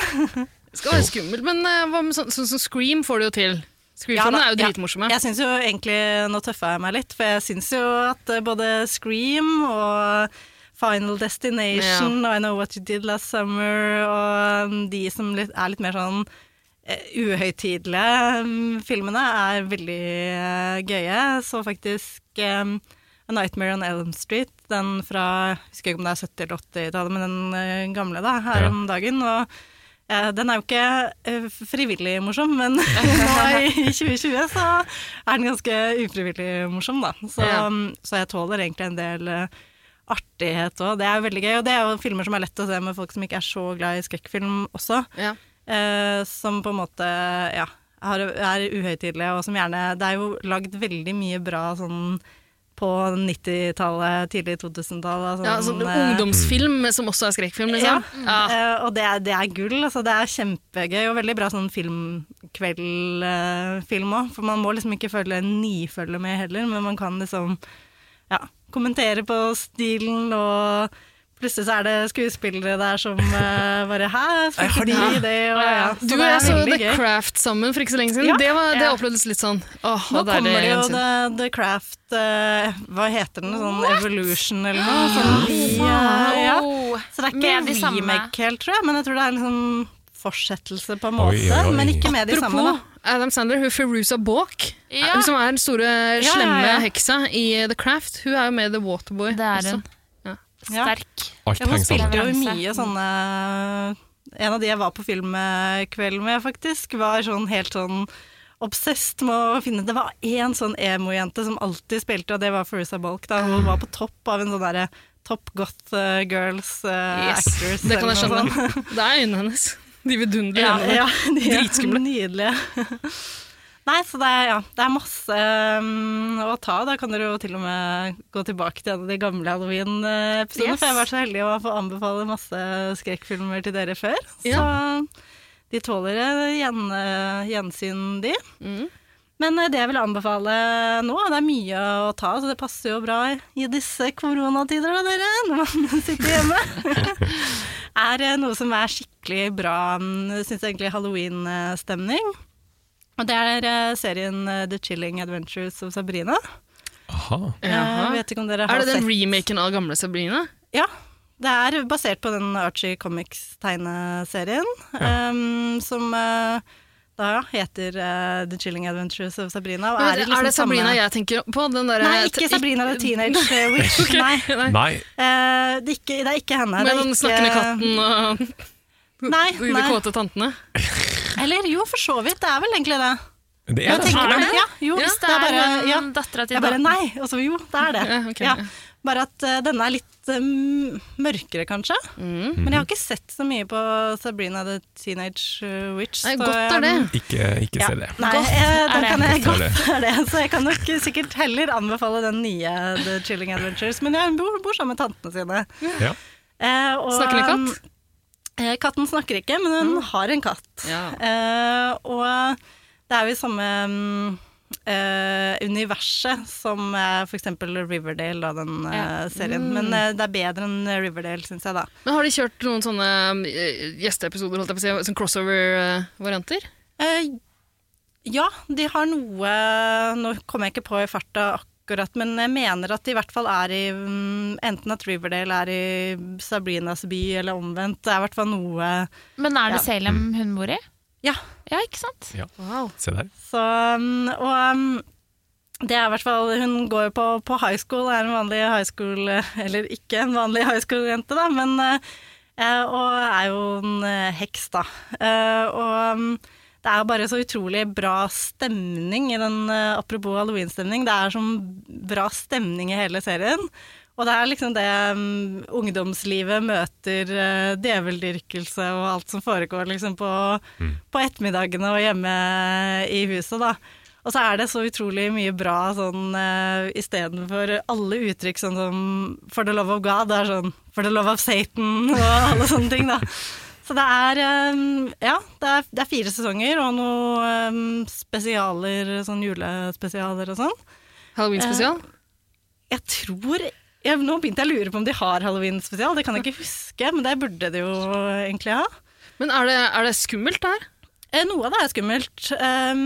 Det skal være skummelt, men eh, hva med sånn sånn som Scream får det jo til. Scream-filmene da, er jo dritmorsomme. Jeg syns jo egentlig Nå tøffer jeg meg litt, for jeg syns jo at eh, både Scream og Final Destination og I Know What You Did Last Summer og mm, de som litt, er litt mer sånn eh, uhøytidelige mm, filmene, er veldig eh, gøye. Så faktisk eh, A Nightmare on Elm Street, den fra jeg Husker ikke om det er 70- eller 80-tallet, men den eh, gamle, da, her Ja. om dagen. og Eh, Den er jo ikke eh, frivillig morsom, men nå i 2020 så er den ganske ufrivillig morsom, da. Så, um, Ja. så jeg tåler egentlig en del eh, artighet òg. Det er jo veldig gøy, og det er jo filmer som er lett å se med folk som ikke er så glad i skrekkfilm også. Eh, som på en måte, ja, har, er uhøytidelige, og som gjerne Det er jo lagd veldig mye bra sånn på 90-tallet, tidlig 2000-tallet. Ja, sånn eh, ungdomsfilm som også er skrekkfilm, ja, liksom. eh, og det er, det er gull. Altså, det er kjempegøy og veldig bra sånn filmkveldfilm òg. For man må liksom ikke følge nifølge med heller, men man kan liksom ja, kommentere på stilen og Plutselig så er det skuespillere der som eh, bare Hæ, spilte de i det? Og, ja. Så Du det og er jeg så veldig The gøy. Craft sammen for ikke så lenge siden. Ja. Det, var, det Ja. opplevdes litt sånn åh, hva Nå det er kommer det jo igjen sin? The, the Craft eh, Hva heter den? Sånn Evolution eller noe? Sånn, vi, eh, ja. Så det er ikke Med de samme. remake helt, tror jeg, men jeg tror det er en sånn fortsettelse på en Oi, måte. oi, oi. Men ikke med de samme, da. Apropos Adam Sandler, hun Feruza Balk, Ja. hun som er den store, ja, slemme ja. heksa i The Craft, hun er jo med i The Waterboy. Det er hun. Sterk. Alt Ja, hun henger sammen. spilte jo i mye sånne En av de jeg var på filmkveld med, faktisk, var sånn helt sånn obsesst med å finne Det var én sånn emo-jente som alltid spilte, og det var Farooza Balk. Da. Hun var på topp av en sånn derre Top Goth eh, Girls eh, Yes, Actors. det kan jeg eller noe sånt. skjønne. Det er øynene hennes. De vidunderlige Ja, øynene. ja, de er Dritskumle. Nydelige. Nei, så det er, ja, det er masse um, å ta. Da kan dere jo til og med gå tilbake til en av de gamle Halloween-episodene. Yes. For jeg har vært så heldig å få anbefale masse skrekkfilmer til dere før. Så de tåler eh, gjen, eh, gjensyn, de. Men eh, det jeg vil anbefale nå, det er mye å ta, så det passer jo bra i disse koronatider da, dere, når man sitter hjemme. er eh, noe som er skikkelig bra, syns jeg egentlig, halloween-stemning. Og det er eh, serien eh, The Chilling Adventures of Sabrina. Jaha. Jeg vet ikke om dere har Er det den sett- remaken av gamle Sabrina? Ja, det er basert på den Archie Comics-tegneserien, em, som eh, da ja, heter eh, The Chilling Adventures of Sabrina. og Men i er, liksom det Sabrina samme- jeg tenker på? Den der, Nei, ikke Sabrina the Teenage eh, Witch. Ok, Nei. Nei. Eh, det, er ikke, det er ikke henne. Med det er den ikke- snakkende katten og Nei, de nei. kåte tantene? Eller jo, for så vidt. Det er vel egentlig det. Det Ja, er det. tenker Er du det? det? Ja, jo, Hvis det er bare ja. eh, dattera til Jeg bare Dalton. nei, og så jo, det er det. Ja, ok. Ja. Bare at eh, denne er litt eh, mørkere, kanskje. Mm. Men Mhm. jeg har ikke sett så mye på Sabrina the Teenage eh, Witch. Nei, så godt er jeg- det. Ikke, ikke se det. Nei, eh, da er det. kan jeg Godt er godt er det. Så jeg kan nok sikkert heller anbefale den nye The Chilling Adventures. Men jeg bor, bor sammen med tantene sine. Ja. Eh, og, Snakker den katt? Eh, katten snakker ikke, men hun har en katt. Eh, og det er jo i samme mm, eh, universet som eh, for eksempel Riverdale, da, den eh, serien. Men eh, det er bedre enn Riverdale, syns jeg, da. Men har de kjørt noen sånne eh, gjesteepisoder, holdt jeg på å si, sånn crossover-varianter? Eh, ja, de har noe Nå kommer jeg ikke på i farta akkurat, men jeg mener at de i hvert fall er i mm, Enten at Riverdale er i Sabrinas by, eller omvendt. Det er i hvert fall noe Men er det Ja. Salem hun bor i? Ja. Ja, ikke sant? Ja. Wow. Se der. Så, um, og um, det er i hvert fall Hun går jo på, på high school, er en vanlig high school Eller ikke en vanlig high school-jente, da, men eh, eh, Og er jo en eh, heks, da. Eh, og um, det er jo bare så utrolig bra stemning i den eh, Apropos halloween-stemning, det er sånn bra stemning i hele serien. Og det er liksom det um, ungdomslivet møter eh, djeveldyrkelse og alt som foregår liksom på, på ettermiddagene og hjemme i huset, da. Og så er det så utrolig mye bra sånn uh, istedenfor alle uttrykk sånn som For the love of God er sånn For the love of Satan og alle sånne ting, da. Så det er um, Ja, det er, det er fire sesonger og noen um, spesialer, sånn julespesialer og sånn. Halloween-spesial? Eh, jeg tror jeg, Nå begynte jeg å lure på om de har halloween-spesial, det kan jeg ikke huske, men det burde de jo egentlig ha. Men er det, er det skummelt, det her? Eh, noe av det er skummelt. Um,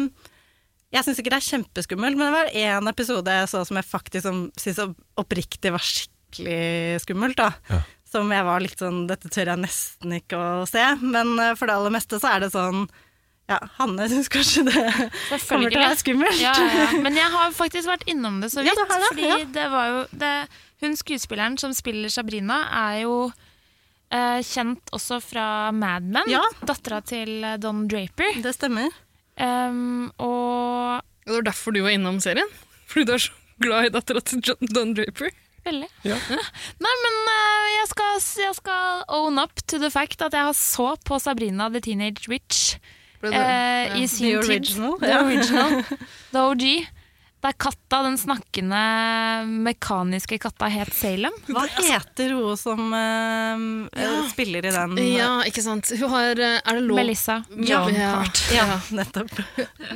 jeg syns ikke det er kjempeskummelt, men det var én episode jeg så som jeg faktisk som, synes oppriktig var skikkelig skummelt. da. Ja. Som jeg var litt sånn Dette tør jeg nesten ikke å se. Men eh, for det aller meste så er det sånn Ja, Hanne syns kanskje det kommer til å være skummelt. Ja, ja. Men jeg har faktisk vært innom det så Ja, vidt. du har det, fordi ja. det var jo det, Hun skuespilleren som spiller Sabrina, er jo eh, kjent også fra Mad Men. Ja. Dattera til eh, Don Draper. Um, Det stemmer. og Det var derfor du var innom serien? Fordi du er så glad i dattera til John Don Draper? Veldig. Nei, men eh, jeg, skal, jeg skal own up to the fact at jeg har så på Sabrina the Teenage Witch Ble eh, det- ja. i sin The original, tid. The ja. original. The OG. Der katta, den snakkende mekaniske katta, het Salem. Hva heter hun som eh, eh, spiller i den? Ja, ikke sant. Hun har eh, Er det lov Melissa. Ja, Ja. ja, Ja. nettopp.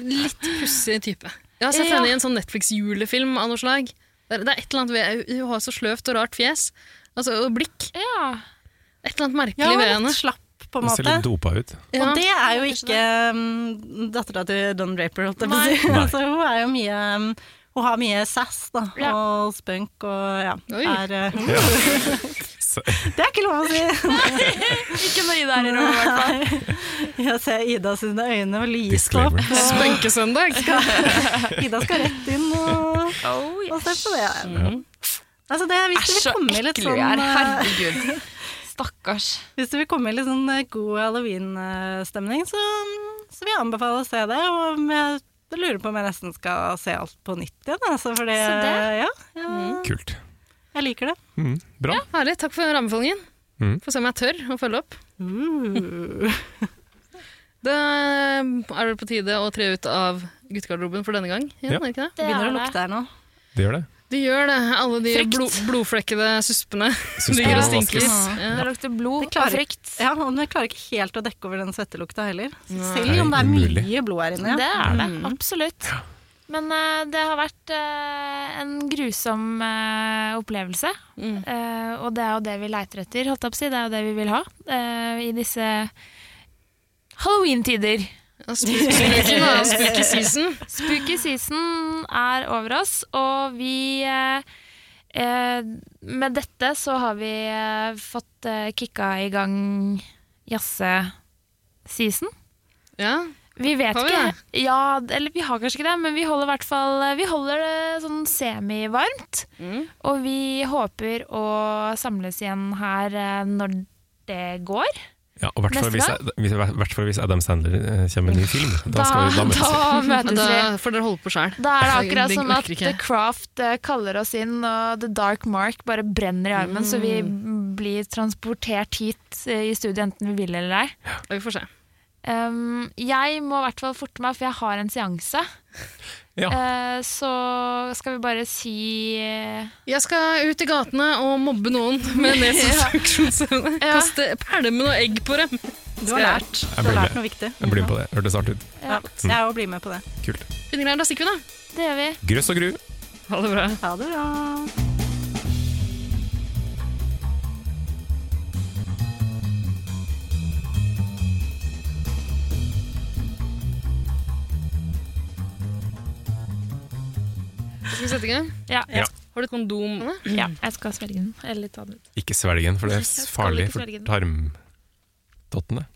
Litt pussig type. Jeg har sett Ja. henne i en sånn Netflix-julefilm av noe slag. Det er, det er et eller annet ved, Hun har så sløvt og rart fjes altså, og blikk. Ja. Et eller annet merkelig Ja, hun ved var henne. litt slapp, på en Det ser litt måte. dopa ut. Ja. Og det er jo ikke um, dattera til Don Draper, holdt jeg på å si. Nei. Altså, hun er jo mye um, Hun har mye sass da, Ja. og spunk og ja. Oi. Er, uh, Ja. det er ikke lov å si! Ikke når Ida er i rommet, i hvert fall. Jeg ser Ida sine øyne og lyset opp. Disclaimer. Spønkesøndag! Ida skal rett inn og, og se på det. Altså det hvis du vil komme i litt sånn, uh, Herregud. Stakkars. hvis du vil komme i litt sånn uh, god halloween-stemning, så, um, så vil jeg anbefale å se det. Og om jeg jeg lurer på om jeg nesten skal se alt på nytt igjen. Altså, fordi, Så det- Mm. Ja, ja, Kult. jeg liker det. Mm, bra. Herlig. Takk for anbefalingen. Mm. Får se om jeg tør å følge opp. Uh. Da er det på tide å tre ut av guttegarderoben for denne gang. Ja. Ja, er det ikke det? Det Begynner er å det. lukte her nå. Det gjør det. De gjør det, alle de Frykt. blod, blodflekkede suspene. Suspene ligger og må stinker. vaskes. Ja. Det lukter blod Det klarer- og frykt. Ja, og jeg klarer ikke helt å dekke over den svettelukta heller. Nei, Selv om det er umulig. mye blod her inne. Det Ja. er det, absolutt. Men eh, det har vært eh, en grusom eh, opplevelse. Mm. Eh, og det er jo det vi leiter etter, holdt jeg på å si. Det er jo det vi vil ha eh, i disse halloween-tider. Ja, spuk- Spøken er spooky season. Spooky season er over oss, og vi eh, eh, Med dette så har vi eh, fått eh, kicka i gang jazze-season. Ja. Vi vet Har vi ikke. Ja, eller vi har kanskje ikke det, men vi holder, i hvert fall, eh, vi holder det sånn semivarmt. Mm. Og vi håper å samles igjen her eh, når det går. Ja, og hvert fall Neste hvis, gang? hvis- hvert fall hvis Adam Sandler eh, kommer med en ny film. Da skal vi da møtes vi. da Ja, møtes Da vi. får dere holde på sjæl. Da er det akkurat Det som at orker ikke. The Craft eh, kaller oss inn, og The Dark Mark bare brenner i armen, så vi Mm. blir transportert hit eh, i studio enten vi vil eller ei. Vi får se. Um, jeg må i hvert fall forte meg, for jeg har en seanse. Ja. Eh, så skal vi bare si eh, Jeg skal ut i gatene og mobbe noen med nesefunksjonsevne. Ja. Kaste pælmer og egg på dem. Du har lært. Du blir har med. lært noe viktig. Jeg blir med på det. Hørtes artig ut. Ja, jeg òg blir med på det. Kult. Fine greier, da stikker vi, da. Det gjør vi. Grøss og gru. Ha det bra. Ha det bra. Skal vi sette i gang? Ja, Ja. Har du kondom? Anne? ja jeg skal svelge den. Eller ta den ut. Ikke svelg den, for det er Jeg skal farlig ikke for svelge den. tarmdottene.